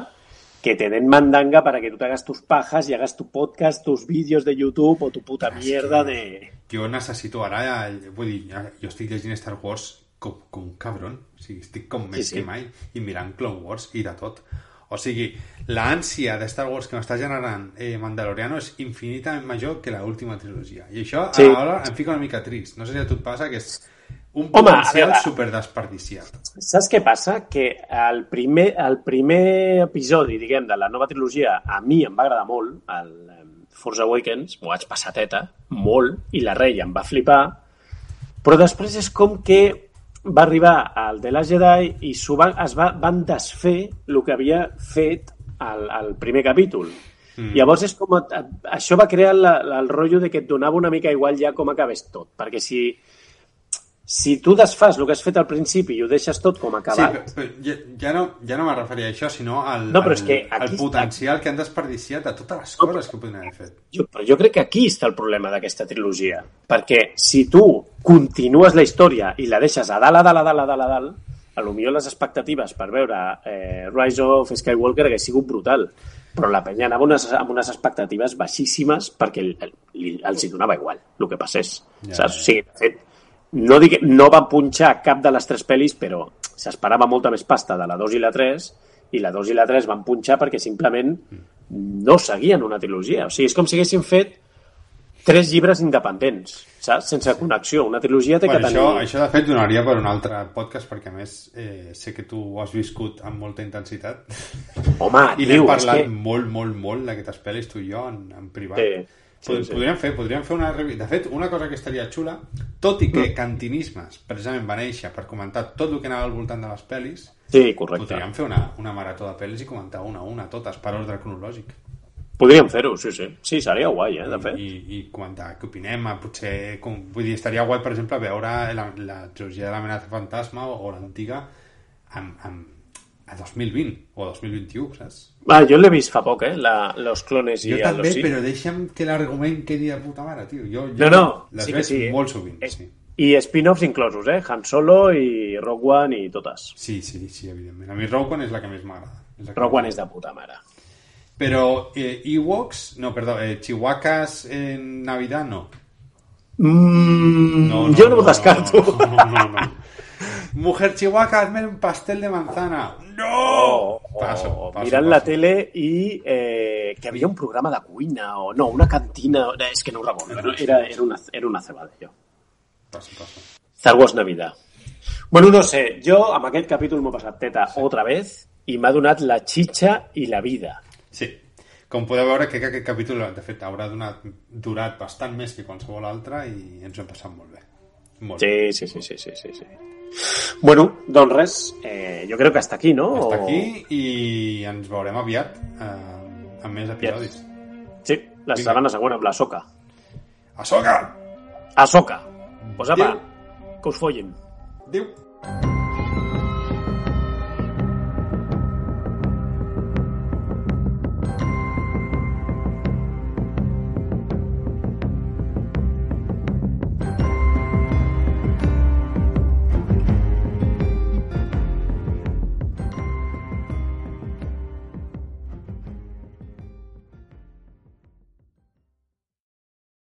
S4: que te den mandanga para que tú te hagas tus pajas y hagas tu podcast, tus vídeos de YouTube o tu puta
S3: És
S4: mierda
S3: Ah, que-
S4: de...
S3: Jo necessito ara... eh, Vull dir, ja- jo estic llegint Star Wars com, com un cabron. O sigui, estic com més
S4: sí.
S3: sí, sí. que mai. I mirant Clone Wars i de tot. O sigui, l'ànsia de Star Wars que m'està generant eh, Mandaloriano és infinitament major que l'última trilogia. I això
S4: Sí.
S3: sí. ara em fica una mica trist. No sé si a tu et passa que és un
S4: Home, a
S3: potencial
S4: veure.
S3: superdesperdiciat.
S4: Saps què passa? Que el primer, el primer episodi, diguem, de la nova trilogia, a mi em va agradar molt, el eh, Force Awakens, m'ho vaig passar teta, molt, i la Rei em va flipar, però després és com que va arribar al de la Jedi i s'ho va, es va, van desfer el que havia fet al, al primer capítol. Mm. Llavors és com... et- et- Això va crear la, la, el rotllo de que et donava una mica igual ja com acabés tot, perquè si, si tu desfas el que has fet al principi i ho deixes tot com
S3: Sí,
S4: acabat...
S3: però, però ja, ja, no, ja no me referia a això, sinó al,
S4: No, però és
S3: al,
S4: que aquí-
S3: al potencial que han desperdiciat de totes les coses que podrien haver fet.
S4: Jo, però jo crec que aquí està el problema d'aquesta trilogia, perquè si tu continues la història i la deixes a dalt, a dalt, a dalt, a dalt, a dalt, a lo millor les expectatives per veure eh, Rise of Skywalker hagués sigut brutal, però la penya anava unes, amb unes expectatives baixíssimes perquè el, el, li- els hi donava igual el que passés.
S3: Ja,
S4: Ja,
S3: ja.
S4: Saps? O sigui, de fet, no, digue, no van punxar cap de les tres pel·lis, però s'esperava molta més pasta de la 2 i la 3, i la 2 i la 3 van punxar perquè simplement no seguien una trilogia. O sigui, és com si haguessin fet tres llibres independents, saps? Sense connexió. Una trilogia té
S3: Bueno,
S4: que
S3: això,
S4: tenir...
S3: això, de fet, donaria per un altre podcast, perquè, a més, eh, sé que tu ho has viscut amb molta intensitat
S4: Home,
S3: i n'hem
S4: tio, és
S3: parlat
S4: que...
S3: que... molt, molt, molt d'aquestes pel·lis, tu i jo, en, en privat.
S4: Sí, sí,
S3: Pod-
S4: sí.
S3: Podríem fer, podríem fer una revi- De fet, una cosa que estaria xula, tot i que
S4: Mm.
S3: Cantinismes precisament va néixer per comentar tot el que anava al voltant de les pel·lis,
S4: Sí, correcte.
S3: podríem fer una, una marató de pel·lis i comentar una a una, totes, per ordre cronològic.
S4: Podríem fer-ho, sí, sí. Sí, seria guai, eh, de fet.
S3: I, i comentar què opinem, eh, potser, com, vull dir, estaria guai, per exemple, veure la, la trilogia de l'amenaça fantasma o, o l'antiga amb, amb, a 2020 o a 2021, saps?
S4: Ah, jo l'he vist fa poc, eh, la, Los Clones i
S3: Jo
S4: a
S3: també,
S4: Los Sith.
S3: però deixa'm que l'argument quedi de puta mare, tio. Jo,
S4: No,
S3: jo
S4: no,
S3: les
S4: sí que
S3: veig
S4: sí.
S3: molt sovint,
S4: Eh,
S3: sí.
S4: I spin-offs inclosos, eh? Han Solo i Rogue One i totes.
S3: Sí, sí, sí, evidentment. A mi Rogue One és la que més m'agrada. És la que
S4: Rogue One
S3: més-
S4: és de puta mare.
S3: Pero eh, Ewoks, no, perdón, eh, Chihuahuas en Navidad no.
S4: Mm,
S3: No,
S4: yo no, lo descarto.
S3: no, no, no, no. Mujer Chihuahua, hazme un pastel de manzana.
S4: Oh,
S3: ¡No! Paso,
S4: O
S3: paso,
S4: mirant la
S3: paso.
S4: tele i eh, que havia un programa de cuina o no, una cantina, no, és que no ho recordo, no? era, era, una, era una cebada, jo.
S3: Paso, paso.
S4: Star Wars Navidad. Bueno, no sé, jo amb aquest capítol m'ho he passat teta sí. otra vez i m'ha donat la xitxa i la vida.
S3: Sí. Com podeu veure, crec que aquest capítol, de fet, haurà donat, durat bastant més que qualsevol altre i ens ho hem passat molt bé. Molt bé.
S4: Sí, sí, sí, sí, sí, sí. sí. Bueno, doncs res, eh, jo crec que hasta aquí, no?
S3: Hasta
S4: O-
S3: aquí i ens veurem aviat eh, amb més episodis.
S4: Sí, la
S3: Vinga.
S4: setmana següent amb la soca.
S3: A soca!
S4: A soca! Pues apa,
S3: Adéu.
S4: que us follen.
S3: Adéu!